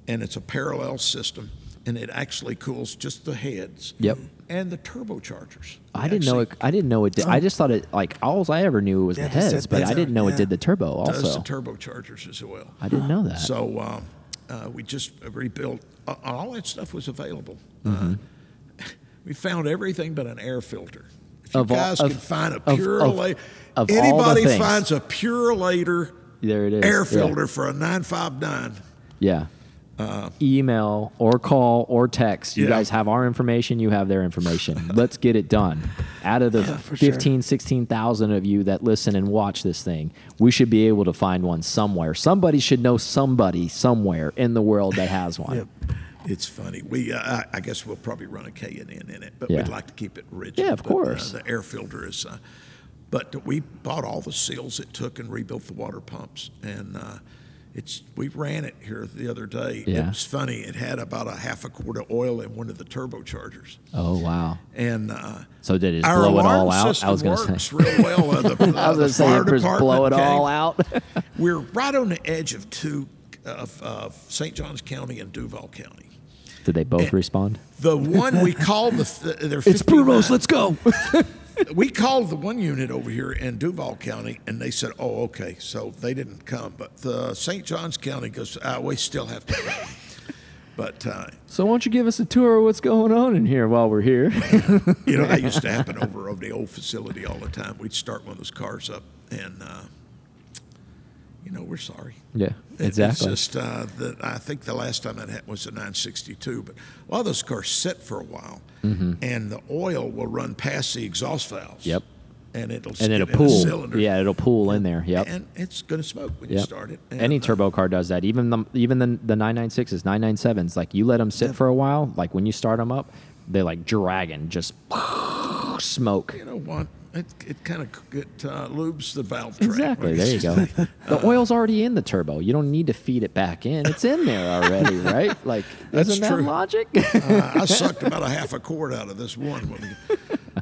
Speaker 4: and it's a parallel system, and it actually cools just the heads.
Speaker 1: Yep.
Speaker 4: And the turbochargers.
Speaker 1: I didn't know
Speaker 4: Actually Oh.
Speaker 1: it. I didn't know it. Did, I just thought it like all I ever knew was the
Speaker 3: Yeah, it just
Speaker 1: heads,
Speaker 3: said
Speaker 1: but I
Speaker 3: turbo,
Speaker 1: didn't know it
Speaker 3: yeah.
Speaker 1: did the turbo
Speaker 4: Does
Speaker 1: also.
Speaker 4: the turbochargers as well.
Speaker 1: I didn't know that.
Speaker 4: So um, uh, we just rebuilt. Uh,
Speaker 1: Mm-hmm.
Speaker 4: all that stuff was available. Uh, we found everything but an air filter. If you
Speaker 1: Of all-
Speaker 4: guys
Speaker 1: of-
Speaker 4: can find a
Speaker 1: of-
Speaker 4: pure
Speaker 1: of-
Speaker 4: later,
Speaker 1: of all the
Speaker 4: anybody
Speaker 1: things.
Speaker 4: finds a pure later
Speaker 1: There it is.
Speaker 4: air
Speaker 1: Yeah.
Speaker 4: filter for a 959,
Speaker 1: Yeah. Email or call or text. You
Speaker 4: Uh, Yeah.
Speaker 1: guys have our information. You have their information. Let's get it done. Out of the
Speaker 3: for sure.
Speaker 1: fifteen, sixteen thousand 15, 16,000 of you that listen and watch this thing, we should be able to find one somewhere. Somebody should know somebody somewhere in the world that has one.
Speaker 3: Yep.
Speaker 4: it's funny. We, uh, I, I guess we'll probably run a K and N in it, but
Speaker 1: Yeah.
Speaker 4: we'd like to keep it rigid.
Speaker 1: Yeah, of
Speaker 4: But, uh,
Speaker 1: course.
Speaker 4: the air filter is. Uh, but we bought all the seals it took and rebuilt the water pumps, and uh, it's we ran it here the other day. It
Speaker 1: Yeah.
Speaker 4: was funny. It had about a half a quart of oil in one of the turbochargers,
Speaker 1: Oh, wow.
Speaker 4: and uh,
Speaker 1: So did it just
Speaker 4: our
Speaker 1: blow it
Speaker 4: alarm
Speaker 1: all out?
Speaker 4: system
Speaker 1: I was going to
Speaker 4: works
Speaker 1: say.
Speaker 4: real well. Uh, the,
Speaker 1: I was
Speaker 4: uh,
Speaker 1: going
Speaker 4: the
Speaker 1: to say,
Speaker 4: fire
Speaker 1: it just
Speaker 4: department
Speaker 1: blow it
Speaker 4: came-
Speaker 1: all out.
Speaker 4: we're right on the edge of two of, of St. Johns County and Duval County.
Speaker 1: did they both respond?
Speaker 4: The one we called the they're
Speaker 3: It's Brumos. Let's go.
Speaker 4: we called the one unit over here in Duval County, and they said, "Oh, okay." So they didn't come, but the St. Johns County goes, ah, "We still have to." go." but uh,
Speaker 1: So why don't you give us a tour of what's going on in here while we're here?
Speaker 4: you know that used to happen over over the old facility all the time. We'd start one of those cars up, and uh, you know we're sorry.
Speaker 1: yeah,
Speaker 4: It-
Speaker 1: exactly.
Speaker 4: It's just uh, the, I think the last time that happened was the 962, but a lot of those cars sit for a while, and the oil will run past the exhaust valves.
Speaker 1: Mm-hmm. Yep.
Speaker 4: And it'll
Speaker 1: and it'll
Speaker 4: skid in the
Speaker 1: pool.
Speaker 4: cylinder.
Speaker 1: Yeah, it'll pool in there. Yep.
Speaker 4: And it's going to smoke when you
Speaker 1: Yep.
Speaker 4: start it. And,
Speaker 1: Any
Speaker 4: uh,
Speaker 1: turbo car does that. Even the even the the 996s, 997s, like you let them sit for a while, like when you start them up, they're like dragging just smoke.
Speaker 4: You know what? It, it kind of it, uh, lubes the valve track.
Speaker 1: Exactly. There you go. The oil's already in the turbo. You don't need to feed it back in. It's in there already, right? Like
Speaker 4: That's
Speaker 1: isn't
Speaker 4: true.
Speaker 1: that logic?
Speaker 4: uh, I sucked about a half a quart out of this one. When we,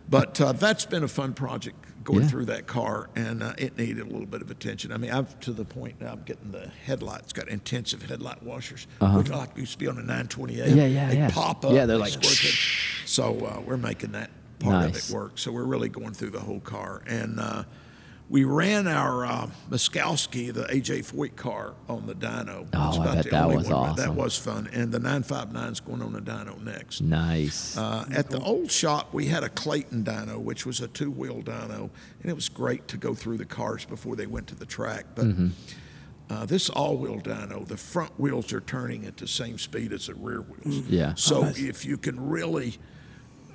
Speaker 4: but uh, that's been a fun project going
Speaker 1: Yeah.
Speaker 4: through that car, and uh, it needed a little bit of attention. I mean, I'm to the point now. I'm getting the headlights got intensive headlight washers, which like used to be on a 928.
Speaker 1: Uh-huh. Yeah, yeah,
Speaker 4: they
Speaker 1: yeah.
Speaker 4: Pop up.
Speaker 1: Yeah, they're
Speaker 4: they
Speaker 1: like,
Speaker 4: squirt it. So uh, we're making that part
Speaker 1: Nice.
Speaker 4: of it work. So we're really going through the whole car, and uh, we ran our uh, Muskowski, the AJ Foyt car, on the dyno. It's
Speaker 1: Oh, I
Speaker 4: about
Speaker 1: bet
Speaker 4: the
Speaker 1: that
Speaker 4: only
Speaker 1: was
Speaker 4: one- That
Speaker 1: awesome.
Speaker 4: was fun, and the 959 is going on a dyno next.
Speaker 1: Mm-hmm. nice.
Speaker 4: Uh, at the old shop, we had a Clayton dyno, which was a two wheel dyno, and it was great to go through the cars before they went to the track. But
Speaker 1: Mm-hmm.
Speaker 4: uh, this all wheel dyno, the front wheels are turning at the same speed as the rear wheels.
Speaker 1: Mm-hmm. Yeah.
Speaker 4: So if you can really.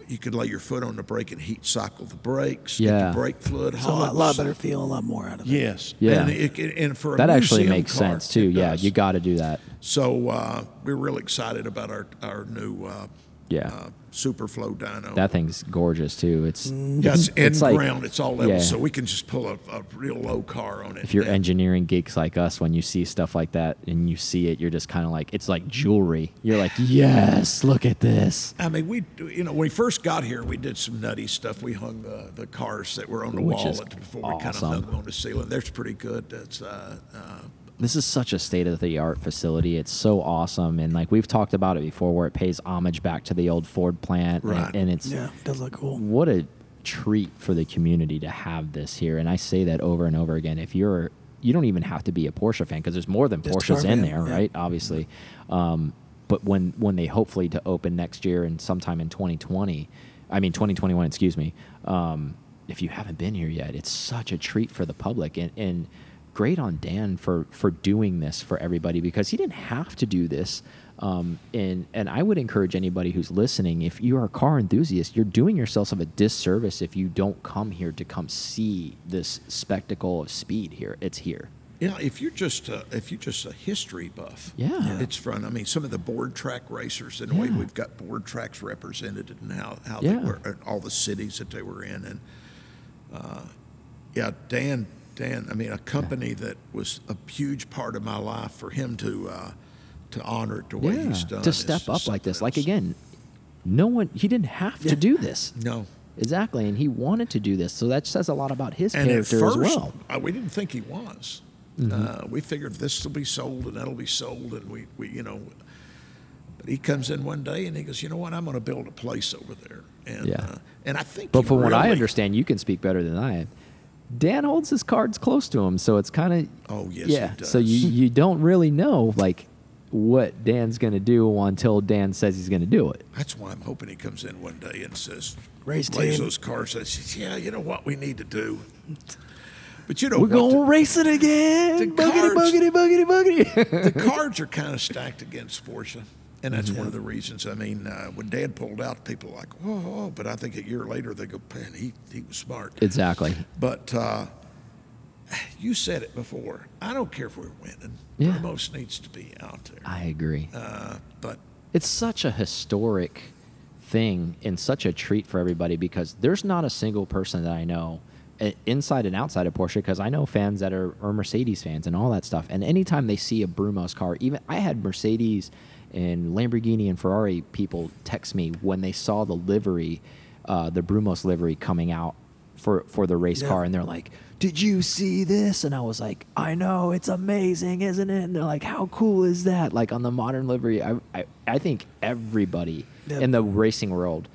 Speaker 4: You can lay your foot on the brake and heat cycle the brakes. Get
Speaker 1: Yeah.
Speaker 4: the brake fluid
Speaker 3: It's a lot,
Speaker 4: hot.
Speaker 3: lot better feel, a lot more out of it.
Speaker 4: Yes.
Speaker 1: Yeah.
Speaker 4: And, it, it- and for a
Speaker 1: that actually
Speaker 4: museum
Speaker 1: makes
Speaker 4: car,
Speaker 1: sense too.
Speaker 4: it
Speaker 1: Yeah,
Speaker 4: does.
Speaker 1: you got to do that.
Speaker 4: So uh, we're really excited about our our new uh,
Speaker 1: Yeah.
Speaker 4: uh, Mm. Superflow dyno.
Speaker 1: That thing's gorgeous too. It's
Speaker 4: Yes, in
Speaker 1: it's like-
Speaker 4: ground, it's all level,
Speaker 1: yeah.
Speaker 4: so we can just pull a, a real low car on it.
Speaker 1: if you're engineering geeks like us, when you see stuff like that and you see it, you're just kind of like, it's like jewelry. You're like, yes, look at this.
Speaker 4: I mean, we you know when we first got here, we did some nutty stuff. We hung the, the cars that were on the
Speaker 1: Which
Speaker 4: wall
Speaker 1: is
Speaker 4: at- before we kind of
Speaker 1: awesome.
Speaker 4: hung them on the ceiling. That's pretty good. That's uh, uh,
Speaker 1: This is such a state of the art facility. It's so awesome. And like we've talked about it before, where it pays homage back to the old Ford plant. and-
Speaker 4: Right.
Speaker 1: And, it's
Speaker 3: Yeah, does look cool.
Speaker 1: what a treat for the community to have this here. And I say that over and over again. If you're, you don't even have to be a Porsche fan because there's more than
Speaker 3: Just
Speaker 1: Porsches
Speaker 3: car
Speaker 1: in
Speaker 3: fan,
Speaker 1: there,
Speaker 3: yeah.
Speaker 1: right? Obviously. Um, but when when they hopefully to open next year and sometime in 2020, I mean 2021, excuse me. Um, if you haven't been here yet, it's such a treat for the public and and great on Dan for for doing this for everybody because he didn't have to do this. Um, and and I would encourage anybody who's listening, if you are a car enthusiast, you're doing yourself a disservice if you don't come here to come see this spectacle of speed here. It's here.
Speaker 4: you know, if you're just a, if you're just a history buff,
Speaker 1: Yeah. Yeah.
Speaker 4: it's fun. I mean, some of the board track racers and the way
Speaker 1: Yeah.
Speaker 4: we've got board tracks represented and how how
Speaker 1: Yeah.
Speaker 4: they were and all the cities that they were in and uh, Yeah, Dan. Dan. I mean, a company that was a huge part of my life for him to uh, to honor it the way
Speaker 1: yeah.
Speaker 4: he's done.
Speaker 1: to
Speaker 4: is
Speaker 1: step up like this.
Speaker 4: something
Speaker 1: Like
Speaker 4: else.
Speaker 1: again, no one he didn't have to do this.
Speaker 4: No.
Speaker 1: Exactly, and he wanted to do this, so that says a lot about his
Speaker 4: And at
Speaker 1: character
Speaker 4: first,
Speaker 1: as well. Mm-hmm.
Speaker 4: uh, we didn't think he was. Uh, we figured this will be sold and that'll be sold, and we, we you know. But he comes in one day and he goes, you know what? I'm going to build a place over there, and
Speaker 1: Yeah.
Speaker 4: uh, and I think.
Speaker 1: But
Speaker 4: he
Speaker 1: from what I
Speaker 4: really-
Speaker 1: understand, you can speak better than I. am. Dan holds his cards close to him, so it's kind of
Speaker 4: Oh, yes, he
Speaker 1: yeah. So
Speaker 4: does.
Speaker 1: you you don't really know like what Dan's going to do until Dan says he's going to do it.
Speaker 4: That's why I'm hoping he comes in one day and says,
Speaker 3: Race
Speaker 4: lays
Speaker 3: team.
Speaker 4: those cars. and says, yeah, you know what we need to do. But you know
Speaker 1: We're
Speaker 4: what?
Speaker 1: going
Speaker 4: The-
Speaker 1: racing again.
Speaker 4: the
Speaker 1: boogity,
Speaker 4: cards-
Speaker 1: boogity, boogity, boogity.
Speaker 4: the cards are kind of stacked against Porsche. And that's one of the reasons. I mean, uh, when Dad pulled out, people were like, whoa, whoa, but I think a year later they go, man, he, he was smart.
Speaker 1: exactly.
Speaker 4: But uh, you said it before. I don't care if we're winning.
Speaker 1: Yeah.
Speaker 4: Ramos needs to be out there.
Speaker 1: I agree.
Speaker 4: Uh, but
Speaker 1: it's such a historic thing and such a treat for everybody because there's not a single person that I know i- inside and outside of Porsche because I know fans that are, are Mercedes fans and all that stuff. And anytime they see a Brumos car, even I had Mercedes and Lamborghini and Ferrari people text me when they saw the livery, uh, the Brumos livery coming out for for the race
Speaker 3: Yeah.
Speaker 1: car and they're like did you see this and i was like i know it's amazing isn't it and they're like how cool is that like on the modern livery i i, I think everybody
Speaker 3: Yeah.
Speaker 1: in the racing world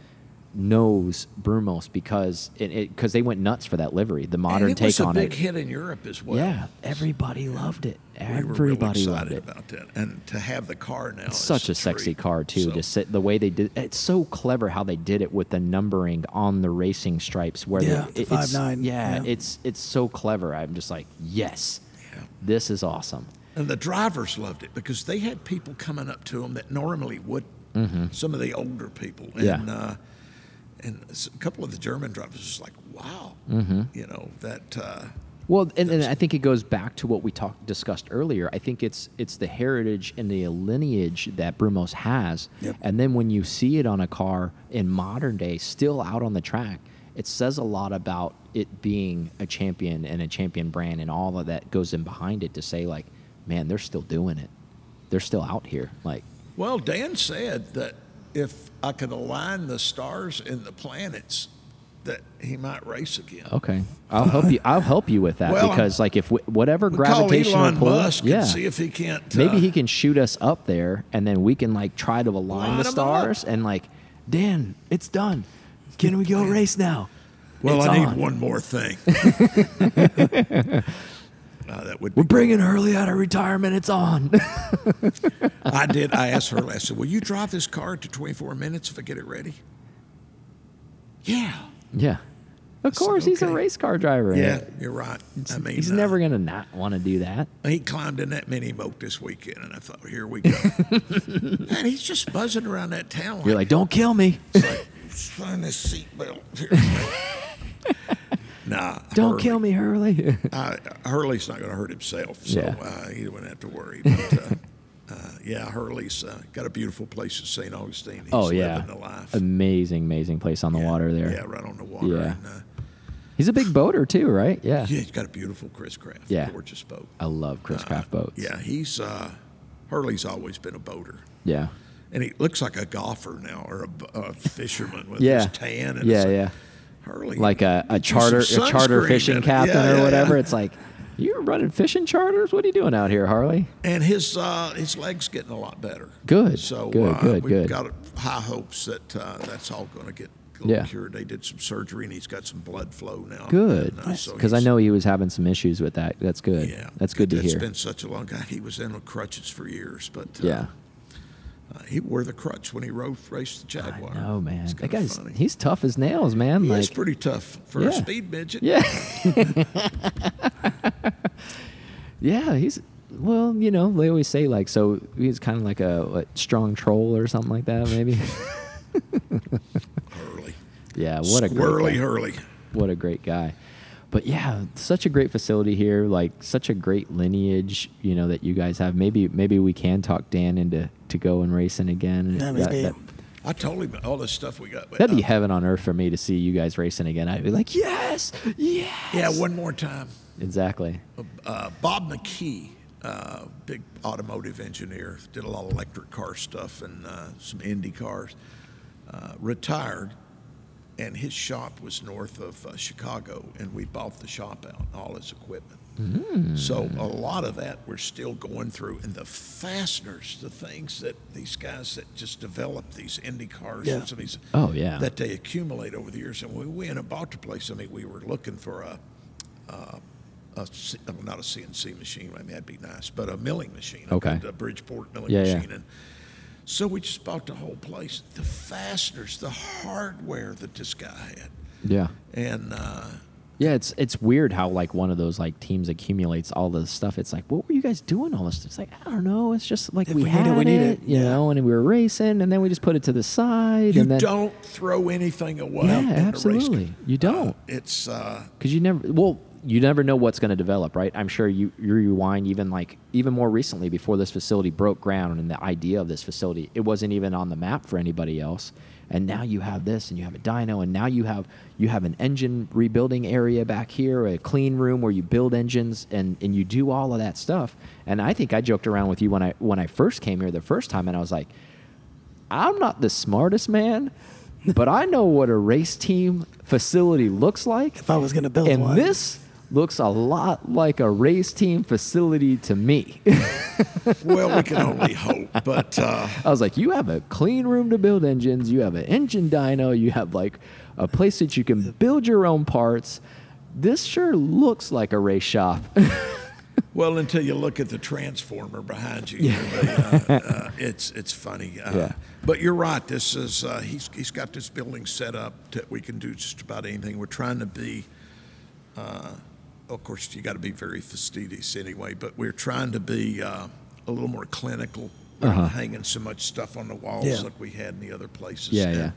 Speaker 1: knows brumos because it because they went nuts for that livery the modern
Speaker 4: and it
Speaker 1: take
Speaker 4: was a
Speaker 1: on
Speaker 4: big
Speaker 1: it
Speaker 4: hit in Europe as well.
Speaker 1: yeah everybody loved it
Speaker 4: We were
Speaker 1: everybody
Speaker 4: really excited
Speaker 1: loved it
Speaker 4: about that. And to have the car now. is
Speaker 1: such a sexy
Speaker 4: treat.
Speaker 1: car too.
Speaker 4: So-
Speaker 1: Just sit, the way they did it's so clever how they did it with the numbering on the racing stripes. Where
Speaker 3: Yeah,
Speaker 1: the,
Speaker 3: the
Speaker 1: it- it's-
Speaker 3: 5.9,
Speaker 1: Yeah,
Speaker 3: yeah.
Speaker 1: it's it's so clever. I'm just like, yes,
Speaker 4: Yeah.
Speaker 1: this is awesome.
Speaker 4: And the drivers loved it because they had people coming up to them that normally wouldn't. Some of the older people. And,
Speaker 1: Mm-hmm. Yeah.
Speaker 4: uh, and s- a couple of the German drivers was like, wow.
Speaker 1: Mm-hmm.
Speaker 4: You know, that. Uh,
Speaker 1: Well, and, and I think it goes back to what we talked discussed earlier. I think it's it's the heritage and the lineage that Brumos has,
Speaker 3: Yep.
Speaker 1: and then when you see it on a car in modern day, still out on the track, it says a lot about it being a champion and a champion brand and all of that goes in behind it to say like, man, they're still doing it, they're still out here. Like,
Speaker 4: Well, Dan said that if I could align the stars and the planets, that he might race again.
Speaker 1: okay, I'll help you. I'll help you with that
Speaker 4: Well,
Speaker 1: because like if w- whatever
Speaker 4: We call
Speaker 1: gravitational
Speaker 4: Elon
Speaker 1: pull,
Speaker 4: Musk
Speaker 1: yeah.
Speaker 4: and see if he can't.
Speaker 1: Maybe
Speaker 4: uh,
Speaker 1: he can shoot us up there, and then we can like try to align
Speaker 4: Line
Speaker 1: the
Speaker 4: 'em up.
Speaker 1: stars and like, Dan, it's done. Can we go race now?
Speaker 4: Well,
Speaker 1: It's
Speaker 4: I need
Speaker 1: on."
Speaker 4: one more thing. Uh, that would.
Speaker 1: We're
Speaker 4: Be,
Speaker 1: bringing Hurley out of retirement. It's on.
Speaker 4: I did. I asked her last. I said, "Will you drive this car to 24 minutes if I get it ready?" Yeah.
Speaker 1: yeah, of course he's a
Speaker 4: okay.
Speaker 1: race car driver.
Speaker 4: Yeah, you're right. I mean,
Speaker 1: he's
Speaker 4: uh,
Speaker 1: never gonna not want to do that.
Speaker 4: He climbed in that mini moke this weekend, and I thought, "Here we go." and he's just buzzing around that town.
Speaker 1: You're like, don't kill me.
Speaker 4: Find this seatbelt. here." nah.
Speaker 1: Don't
Speaker 4: Hurley-
Speaker 1: kill me, Hurley.
Speaker 4: I, Hurley's not going to hurt himself, so
Speaker 1: Yeah.
Speaker 4: uh, he wouldn't have to worry. But, uh, uh, yeah, Hurley's uh, got a beautiful place in St. Augustine. He's
Speaker 1: oh yeah,
Speaker 4: living the life.
Speaker 1: amazing, amazing place on the water there.
Speaker 4: Yeah, right on the water.
Speaker 1: Yeah.
Speaker 4: And, uh,
Speaker 1: He's a big boater too, right? Yeah.
Speaker 4: yeah, he's got a beautiful Chris Craft.
Speaker 1: Yeah.
Speaker 4: Gorgeous boat.
Speaker 1: I love Chris Craft boats.
Speaker 4: Yeah, he's uh, Hurley's always been a boater.
Speaker 1: Yeah.
Speaker 4: And he looks like a golfer now or a, b- a fisherman with
Speaker 1: Yeah.
Speaker 4: his tan. And
Speaker 1: yeah.
Speaker 4: it's like,
Speaker 1: yeah.
Speaker 4: Hurley.
Speaker 1: like a, a
Speaker 4: get you
Speaker 1: charter
Speaker 4: some
Speaker 1: a charter
Speaker 4: sunscreen
Speaker 1: fishing
Speaker 4: and-
Speaker 1: captain
Speaker 4: yeah,
Speaker 1: or
Speaker 4: yeah,
Speaker 1: whatever.
Speaker 4: yeah.
Speaker 1: It's like you're running fishing charters. What are you doing out here, Harley?
Speaker 4: and his uh, his legs getting a lot better.
Speaker 1: Good,
Speaker 4: So
Speaker 1: good,
Speaker 4: uh,
Speaker 1: good,
Speaker 4: we've
Speaker 1: good.
Speaker 4: got high hopes that uh, that's all going to get a little
Speaker 1: Yeah.
Speaker 4: cured. They did some surgery and he's got some blood flow now.
Speaker 1: Good,
Speaker 4: And, uh,
Speaker 1: because
Speaker 4: so
Speaker 1: I
Speaker 4: he's-
Speaker 1: know he was having some issues with that. That's good.
Speaker 4: Yeah,
Speaker 1: that's good to
Speaker 4: It's
Speaker 1: hear.
Speaker 4: been such a long time. He was in with crutches for years, but uh,
Speaker 1: yeah.
Speaker 4: uh, he wore the crutch when he rode raced the Jaguar.
Speaker 1: Oh man,
Speaker 4: It's
Speaker 1: that
Speaker 4: kinda
Speaker 1: guy's
Speaker 4: funny.
Speaker 1: he's tough as nails, man.
Speaker 4: He
Speaker 1: like
Speaker 4: is pretty tough for
Speaker 1: Yeah.
Speaker 4: a speed midget.
Speaker 1: yeah, yeah. He's well, you know, they always say like so he's kind of like a what, strong troll or something like that, maybe.
Speaker 4: Hurley.
Speaker 1: yeah, what a great guy.
Speaker 4: Squirrely Hurley.
Speaker 1: what a great guy but yeah such a great facility here like such a great lineage you know that you guys have maybe maybe we can talk dan into to go and racing again
Speaker 3: That'd be neat.
Speaker 4: I told him all this stuff we got.
Speaker 1: would be
Speaker 4: uh,
Speaker 1: heaven on earth for me to see you guys racing again i'd be like yes yes
Speaker 4: yeah, one more time.
Speaker 1: exactly
Speaker 4: uh, Bob McKee, uh, big automotive engineer, did a lot of electric car stuff and uh, some Indy cars, uh, retired, and his shop was north of uh, Chicago, and we bought the shop out, and all his equipment. So a lot of that we're still going through, and the fasteners, the things that these guys that just develop these Indy cars
Speaker 3: Yeah.
Speaker 4: and some of these
Speaker 1: oh yeah
Speaker 4: that they accumulate over the years. And when we went and bought the place, I mean, we were looking for a, uh, a C- well, not a CNC machine. I mean, that'd be nice, but a milling machine.
Speaker 1: Okay.
Speaker 4: A Bridgeport milling
Speaker 1: Yeah, yeah.
Speaker 4: machine. And so we just bought the whole place, the fasteners, the hardware that this guy had,
Speaker 1: Yeah.
Speaker 4: and uh,
Speaker 1: Yeah, it's it's weird how like one of those like teams accumulates all the stuff. It's like, what were you guys doing all this? It's like I don't know. It's just like
Speaker 3: If
Speaker 1: we,
Speaker 3: we need
Speaker 1: had
Speaker 3: it, we need it.
Speaker 1: you
Speaker 3: Yeah.
Speaker 1: know, and we were racing, and then we just put it to the side,
Speaker 4: you
Speaker 1: and then
Speaker 4: don't throw anything away.
Speaker 1: yeah,
Speaker 4: in the race
Speaker 1: absolutely,
Speaker 4: car.
Speaker 1: you don't
Speaker 4: It's uh,
Speaker 1: because you never well you never know what's going to develop right i'm sure you, you rewind even like even more recently before this facility broke ground and the idea of this facility it wasn't even on the map for anybody else and now you have this and you have a dyno and now you have you have an engine rebuilding area back here a clean room where you build engines and and you do all of that stuff and i think i joked around with you when i when i first came here the first time and i was like I'm not the smartest man, but I know what a race team facility looks like.
Speaker 3: If I was gonna build
Speaker 1: and
Speaker 3: one.
Speaker 1: this looks a lot like a race team facility to me.
Speaker 4: well, we can only hope, but uh,
Speaker 1: I was like, you have a clean room to build engines, you have an engine dyno, you have like a place that you can build your own parts. This sure looks like a race shop.
Speaker 4: well, until you look at the transformer behind you, they, uh, uh, it's it's funny. Uh,
Speaker 1: Yeah.
Speaker 4: But you're right. This is uh, he's he's got this building set up that we can do just about anything. We're trying to be. Uh, of course, you got to be very fastidious anyway, but we're trying to be uh, a little more clinical. We're
Speaker 1: Uh-huh.
Speaker 4: not hanging so much stuff on the walls
Speaker 3: Yeah.
Speaker 4: like we had in the other places.
Speaker 1: yeah,
Speaker 4: And
Speaker 1: yeah.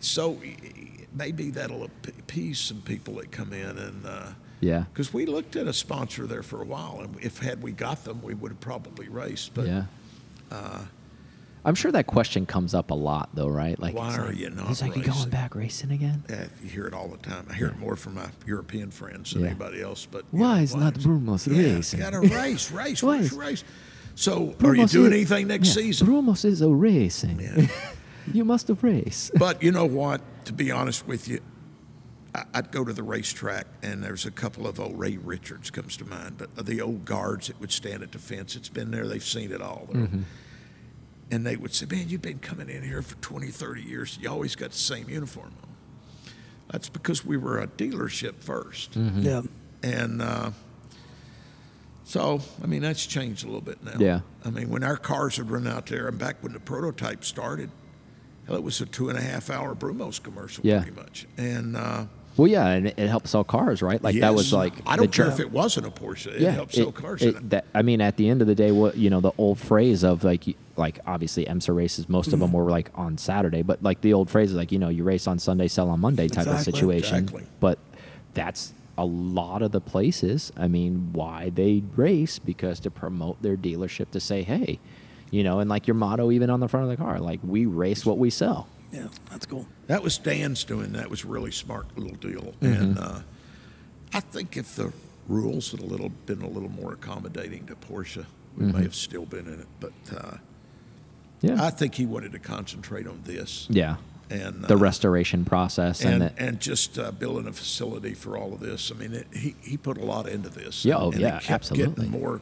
Speaker 4: So y- y- maybe that'll ap- appease some people that come in and. Uh,
Speaker 1: Yeah.
Speaker 4: because we looked at a sponsor there for a while, and if had we got them, we would have probably raced. But
Speaker 1: yeah. I'm sure that question comes up a lot, though, right? Like,
Speaker 4: Why
Speaker 1: it's
Speaker 4: are
Speaker 1: like-
Speaker 4: you not
Speaker 1: It's like you
Speaker 4: racing?"
Speaker 1: going back racing again.
Speaker 4: uh, you hear it all the time. I hear it more from my European friends than
Speaker 1: Yeah.
Speaker 4: anybody else. But
Speaker 1: Why is not Brumos
Speaker 4: yeah,
Speaker 1: racing?
Speaker 4: Got to race, race,
Speaker 1: Why
Speaker 4: race,
Speaker 1: is-
Speaker 4: race. So are you
Speaker 1: Brumos is-
Speaker 4: doing anything next
Speaker 1: yeah,
Speaker 4: season?
Speaker 1: Brumos is a racing.
Speaker 4: Yeah.
Speaker 1: you must have race.
Speaker 4: but you know what? To be honest with you, I- I'd go to the racetrack, and there's a couple of old Ray Richards comes to mind, but the old guards that would stand at the fence. It's been there; they've seen it all. They're- And they would say, "Man, you've been coming in here for 20, 30 years. You always got the same uniform on." That's because we were a dealership 1st
Speaker 3: Yeah.
Speaker 4: and uh, so I mean that's changed a little bit now.
Speaker 1: Yeah.
Speaker 4: I mean when our cars would run out there, and back when the prototype started, hell, it was a two and a half hour Brumos commercial,
Speaker 1: Yeah.
Speaker 4: pretty much. And uh,
Speaker 1: Well, yeah, and it, it helps sell cars, right? Like that was
Speaker 4: yes,
Speaker 1: like
Speaker 4: I
Speaker 1: the
Speaker 4: don't care
Speaker 1: job-
Speaker 4: if it wasn't a Porsche, it
Speaker 1: yeah,
Speaker 4: helped
Speaker 1: it-
Speaker 4: sell cars.
Speaker 1: it- that, I mean, at the end of the day, what you know, the old phrase of like, you- like obviously EMSA races, most of
Speaker 4: Mm-hmm.
Speaker 1: them were like on Saturday, but like the old phrase is like, you know, you race on Sunday, sell on Monday type
Speaker 3: Exactly,
Speaker 1: of situation.
Speaker 4: exactly.
Speaker 1: But that's a lot of the places. I mean, why they race because to promote their dealership to say, hey, you know, and like your motto even on the front of the car, like we race what we sell.
Speaker 3: Yeah. That's cool.
Speaker 4: That was Dan's doing. That was a really smart little deal.
Speaker 1: Mm-hmm.
Speaker 4: And uh, I think if the rules had a little been a little more accommodating to Porsche, we
Speaker 1: Mm-hmm.
Speaker 4: may have still been in it. But uh,
Speaker 1: Yeah,
Speaker 4: I think he wanted to concentrate on this.
Speaker 1: yeah.
Speaker 4: and
Speaker 1: The
Speaker 4: uh,
Speaker 1: restoration process and,
Speaker 4: and
Speaker 1: the-
Speaker 4: and just uh, building a facility for all of this. I mean, it, he he put a lot into this.
Speaker 1: Yeah, oh,
Speaker 4: and
Speaker 1: yeah,
Speaker 4: it kept
Speaker 1: absolutely.
Speaker 4: Getting more.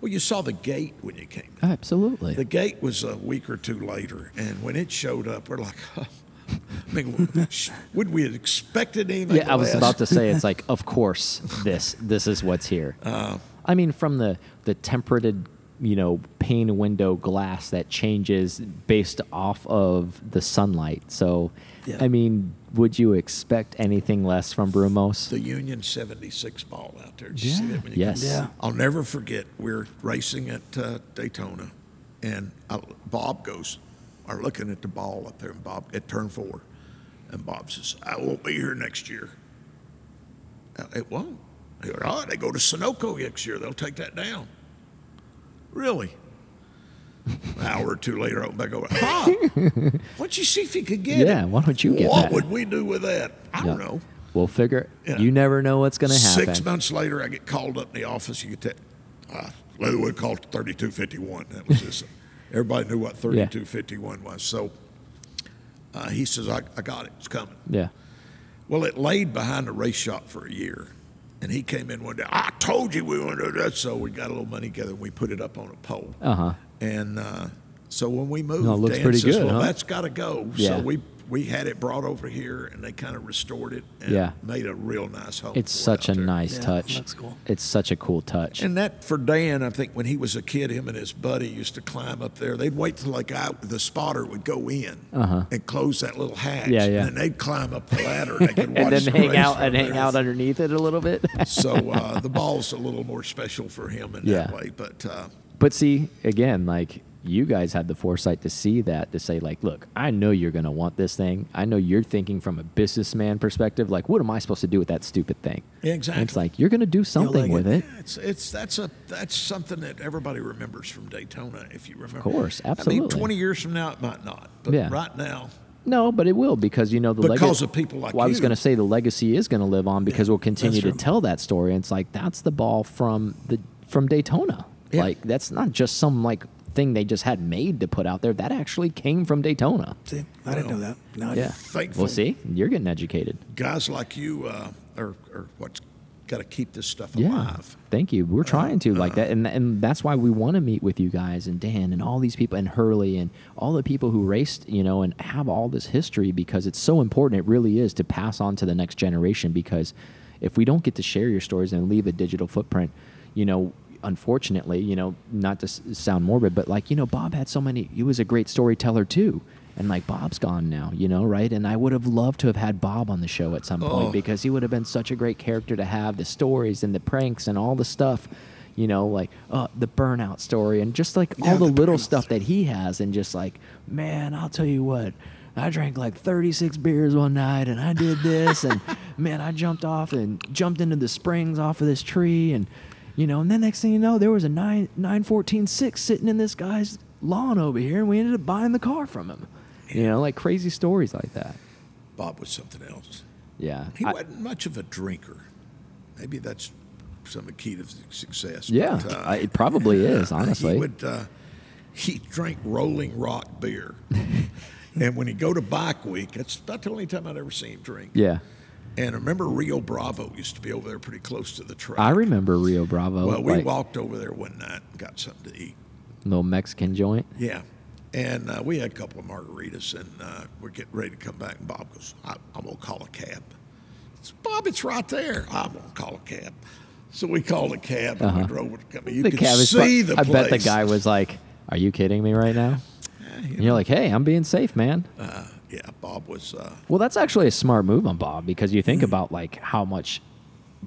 Speaker 4: Well, you saw the gate when you came. in.
Speaker 1: absolutely.
Speaker 4: The gate was a week or two later, and when it showed up, we're like, I mean, sh- would we have expected anything?
Speaker 1: Yeah, I was
Speaker 4: less?
Speaker 1: about to say it's like, of course, this this is what's here.
Speaker 4: Um,
Speaker 1: I mean, from the the temperated, you know, pane window glass that changes based off of the sunlight. So,
Speaker 3: Yeah.
Speaker 1: I mean, would you expect anything less from Brumos?
Speaker 4: the Union 76 ball out there. Did you see
Speaker 1: Yeah.
Speaker 4: that when you
Speaker 1: Yes.
Speaker 4: came-
Speaker 3: Yeah.
Speaker 4: I'll never forget, we're racing at uh, Daytona, and I, Bob goes, are looking at the ball up there, and Bob at turn four, and Bob says, I won't be here next year. Uh, It won't. He goes, oh, they go to Sunoco next year. They'll take that down. Really? An hour or two later, I went back over. Bob, why don't you see if you could get it?
Speaker 1: Yeah, why don't you get
Speaker 4: What
Speaker 1: that?
Speaker 4: would we do with that? I don't
Speaker 1: Yeah.
Speaker 4: know.
Speaker 1: We'll figure.
Speaker 4: Yeah.
Speaker 1: You never know what's going to happen.
Speaker 4: Six months later, I get called up in the office. You get that. Uh, Leatherwood called 3251. That was just, everybody knew what 3251 was. So uh, he says, I, I got it. It's coming.
Speaker 1: Yeah.
Speaker 4: Well, it laid behind the race shop for a year. And he came in one day, I told you we were going to do that. So we got a little money together and we put it up on a pole.
Speaker 1: Uh huh.
Speaker 4: And uh, so when we moved,
Speaker 1: No, Oh, it looks
Speaker 4: Dan
Speaker 1: pretty
Speaker 4: says,
Speaker 1: good,
Speaker 4: well,
Speaker 1: huh?"
Speaker 4: that's got to go.
Speaker 1: Yeah.
Speaker 4: So we we had it brought over here, and they kind of restored it and
Speaker 1: Yeah.
Speaker 4: made a real nice home.
Speaker 1: It's
Speaker 4: for it
Speaker 1: such a
Speaker 4: out there.
Speaker 1: nice
Speaker 3: Yeah,
Speaker 1: touch.
Speaker 3: looks cool.
Speaker 1: It's such a cool touch.
Speaker 4: And that for Dan, I think when he was a kid, him and his buddy used to climb up there. They'd wait till like I, the spotter would go in and close that little hatch.
Speaker 1: Uh-huh. Yeah, yeah.
Speaker 4: And then they'd climb up the ladder and they could watch
Speaker 1: and then
Speaker 4: the
Speaker 1: hang
Speaker 4: race
Speaker 1: out
Speaker 4: from
Speaker 1: and hang
Speaker 4: there.
Speaker 1: out underneath it a little bit.
Speaker 4: So uh, the ball's a little more special for him in
Speaker 1: Yeah.
Speaker 4: that way. But uh,
Speaker 1: but see, again, like you guys had the foresight to see that to say like, look, I know you're going to want this thing. I know you're thinking from a businessman perspective like what am I supposed to do with that stupid thing? And
Speaker 4: exactly.
Speaker 1: it's like you're going to do something
Speaker 3: like
Speaker 1: with it.
Speaker 3: it.
Speaker 4: It's it's that's a that's something that everybody remembers from Daytona. If you remember, of
Speaker 1: course,
Speaker 4: I mean,
Speaker 1: absolutely.
Speaker 4: twenty years from now, it might not, but
Speaker 1: Yeah.
Speaker 4: right now,
Speaker 1: No, but it will because you know the
Speaker 4: Because
Speaker 1: legacy
Speaker 4: of people like
Speaker 1: well, I was
Speaker 4: you.
Speaker 1: going to say the legacy is going to live on because we'll continue to
Speaker 3: true.
Speaker 1: tell that story. And it's like that's the ball from the from Daytona.
Speaker 4: Yeah.
Speaker 1: Like that's not just some like thing they just had made to put out there. That actually came from Daytona.
Speaker 3: See, I didn't know that. Now I do.
Speaker 1: Yeah.
Speaker 4: Thankful.
Speaker 1: Well, see, you're getting educated.
Speaker 4: guys like you uh, are are what's got to keep this stuff
Speaker 1: Yeah.
Speaker 4: alive.
Speaker 1: Thank you. We're trying to like that, and and that's why we want to meet with you guys and Dan and all these people and Hurley and all the people who raced, you know, and have all this history because it's so important. It really is to pass on to the next generation because if we don't get to share your stories and leave a digital footprint, you know. Unfortunately, you know, not to s- sound morbid, but like, you know, Bob had so many, he was a great storyteller too. And like, Bob's gone now, you know, right? And I would have loved to have had Bob on the show at some point
Speaker 4: Oh.
Speaker 1: because because he would have been such a great character to have the stories and the pranks and all the stuff you know like uh, the burnout story and just like all
Speaker 4: Yeah,
Speaker 1: the,
Speaker 4: the
Speaker 1: little
Speaker 4: burnout
Speaker 1: stuff that he has and just like man i'll tell you what i drank like 36 beers one night and i did this and man i jumped off and jumped into the springs off of this tree and you know and then next thing you know there was a 9 914 6 sitting in this guy's lawn over here and we ended up buying the car from him you know like crazy stories like that
Speaker 4: Bob was something else.
Speaker 1: yeah
Speaker 4: He
Speaker 1: I-
Speaker 4: wasn't much of a drinker. Maybe that's some of the key to success.
Speaker 1: Yeah,
Speaker 4: but, uh,
Speaker 1: I- it probably is,
Speaker 4: Uh,
Speaker 1: honestly.
Speaker 4: He would uh, he drank Rolling Rock beer, and when he go to Bike Week, that's about the only time I'd ever seen him drink.
Speaker 1: yeah.
Speaker 4: And I remember Rio Bravo used to be over there pretty close to the track.
Speaker 1: I remember Rio Bravo.
Speaker 4: Well, we
Speaker 1: like,
Speaker 4: walked over there one night and got something to eat.
Speaker 1: Little Mexican joint.
Speaker 4: Yeah. And uh, we had a couple of margaritas, and uh, we're getting ready to come back. And Bob goes, I, I'm going to call a cab. It's, Bob, it's right there. I'm going to call a cab. So we called a cab, and we
Speaker 1: Uh-huh.
Speaker 4: drove it. I mean, you could
Speaker 1: cabbage
Speaker 4: see
Speaker 1: spot-
Speaker 4: the
Speaker 1: I bet
Speaker 4: place.
Speaker 1: the guy was like, "Are you kidding me right now?" And you're like, "Hey, I'm being safe, man."
Speaker 4: Uh, yeah, Bob was. Uh,
Speaker 1: Well, that's actually a smart move on Bob because you
Speaker 4: Mm-hmm.
Speaker 1: think about like how much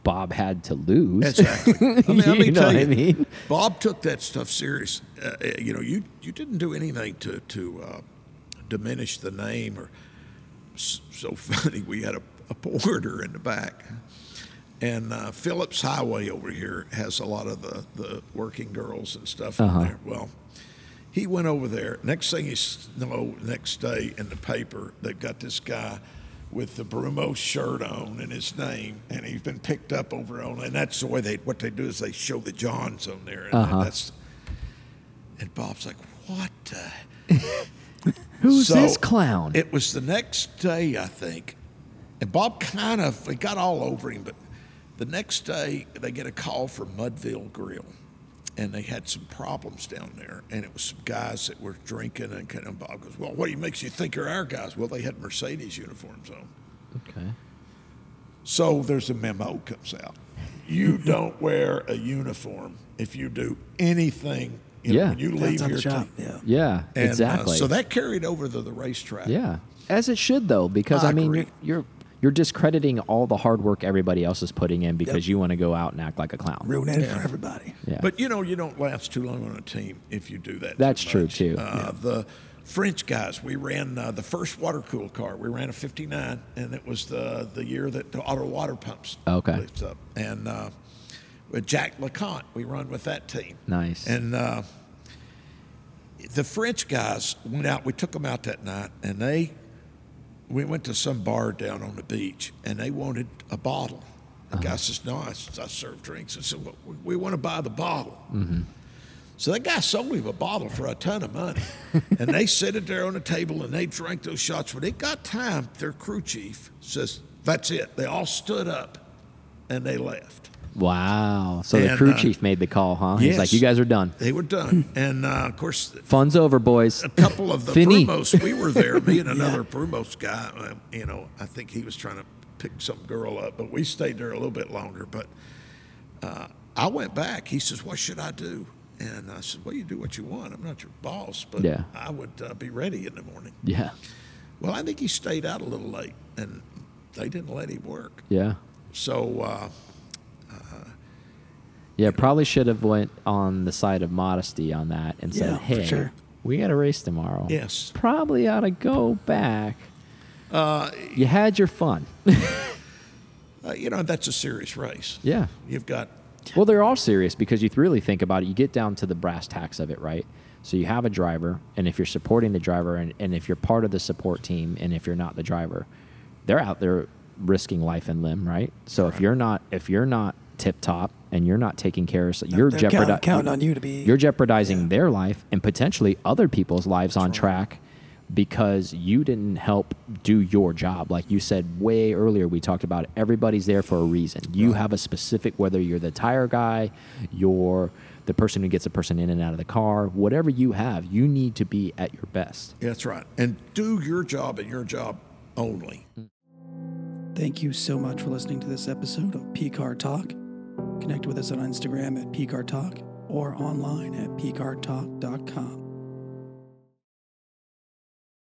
Speaker 1: Bob had to lose.
Speaker 4: exactly. I mean, let me
Speaker 1: You know
Speaker 4: tell
Speaker 1: what I
Speaker 4: you,
Speaker 1: mean?
Speaker 4: Bob took that stuff serious. Uh, uh, you know, you you didn't do anything to to uh, diminish the name or. s- So funny, we had a, a porter in the back, and uh, Phillips Highway over here has a lot of the the working girls and stuff
Speaker 1: Uh-huh.
Speaker 4: in there. Well. He went over there. Next thing you s- know, next day in the paper, they've got this guy with the Brumo shirt on and his name, and he's been picked up over on. And that's the way they what they do is they show the Johns on there, and that's. And Bob's like, "What? The?
Speaker 1: Who's
Speaker 4: So,
Speaker 1: this clown?
Speaker 4: It was the next day, I think. And Bob kind of it got all over him, but the next day they get a call from Mudville Grill. And they had some problems down there, and it was some guys that were drinking. And kind of Bob goes, "Well, what do you makes you think are our guys?" Well, they had Mercedes uniforms on.
Speaker 1: okay.
Speaker 4: So there's a memo comes out. You don't wear a uniform if you do anything. You know,
Speaker 1: Yeah.
Speaker 4: when you
Speaker 3: That's
Speaker 4: leave
Speaker 3: on
Speaker 4: your
Speaker 3: the shop.
Speaker 4: team.
Speaker 3: Yeah.
Speaker 1: Yeah.
Speaker 4: And, uh,
Speaker 1: exactly.
Speaker 4: so that carried over to the racetrack.
Speaker 1: Yeah, as it should though, because I,
Speaker 4: I
Speaker 1: mean,
Speaker 4: agree.
Speaker 1: you're, you're you're discrediting all the hard work everybody else is putting in because you want to go out and act like a clown.
Speaker 3: Ruin it for everybody.
Speaker 1: Yeah.
Speaker 4: But you know, you don't last too long on a team if you do that. too
Speaker 1: That's true,
Speaker 4: much.
Speaker 1: too.
Speaker 4: Uh, The French guys, we ran uh, the first water cool car. We ran a '59, and it was the the year that the auto water pumps
Speaker 1: Okay.
Speaker 4: lifts up. And uh, with Jack LeConte, we run with that team.
Speaker 1: Nice.
Speaker 4: And uh, the French guys went out. We took them out that night, and they we went to some bar down on the beach, and they wanted a bottle. The guy says, "No, I, I serve drinks." I said, well, we- "We want to buy the bottle." So that guy sold him a bottle for a ton of money, and they sit it there on the table and they drank those shots. When it got time, their crew chief says, "That's it." They all stood up, and they left.
Speaker 1: Wow. So the
Speaker 4: And,
Speaker 1: crew
Speaker 4: uh,
Speaker 1: chief made the call, huh? He's like,
Speaker 4: yes.
Speaker 1: you guys are done.
Speaker 4: They were done. and uh, of course,
Speaker 1: Fun's over, boys.
Speaker 4: a couple of the
Speaker 1: Fini.
Speaker 4: Brumos, we were there, me and another Brumos guy. uh, You know, I think he was trying to pick some girl up, but we stayed there a little bit longer. But uh, I went back. He says, What should I do? And I said, Well, you do what you want. I'm not your boss, but
Speaker 1: Yeah.
Speaker 4: I would uh, be ready in the morning.
Speaker 1: Yeah.
Speaker 4: Well, I think he stayed out a little late, and they didn't let him work.
Speaker 1: Yeah.
Speaker 4: So, uh,
Speaker 1: Yeah. Probably should have went on the side of modesty on that and said,
Speaker 3: Yeah, for
Speaker 1: hey,
Speaker 3: sure.
Speaker 1: we got a race tomorrow.
Speaker 4: yes.
Speaker 1: Probably ought to go back. Uh, you had your fun.
Speaker 4: Uh, you know, that's a serious race.
Speaker 1: yeah.
Speaker 4: You've got,
Speaker 1: Well, they're all serious because you really think about it. You get down to the brass tacks of it, right? So you have a driver, and if you're supporting the driver, and, and if you're part of the support team, and if you're not the driver, they're out there risking life and limb, right? So if you're not if you're not tip top and you're not taking care of, so you're
Speaker 3: They're count-
Speaker 1: jeopardizing
Speaker 3: counting on you to be.
Speaker 1: you're jeopardizing their life and potentially other people's lives on track because you didn't help do your job like you said way earlier we talked about it. everybody's there for a reason you have a specific whether you're the tire guy you're the person who gets a person in and out of the car whatever you have you need to be at your best
Speaker 4: that's right. And do your job and your job only.
Speaker 3: Thank you so much for listening to this episode of PCAR Talk. Connect with us on Instagram at PCAR Talk or online at PCARTalk.com.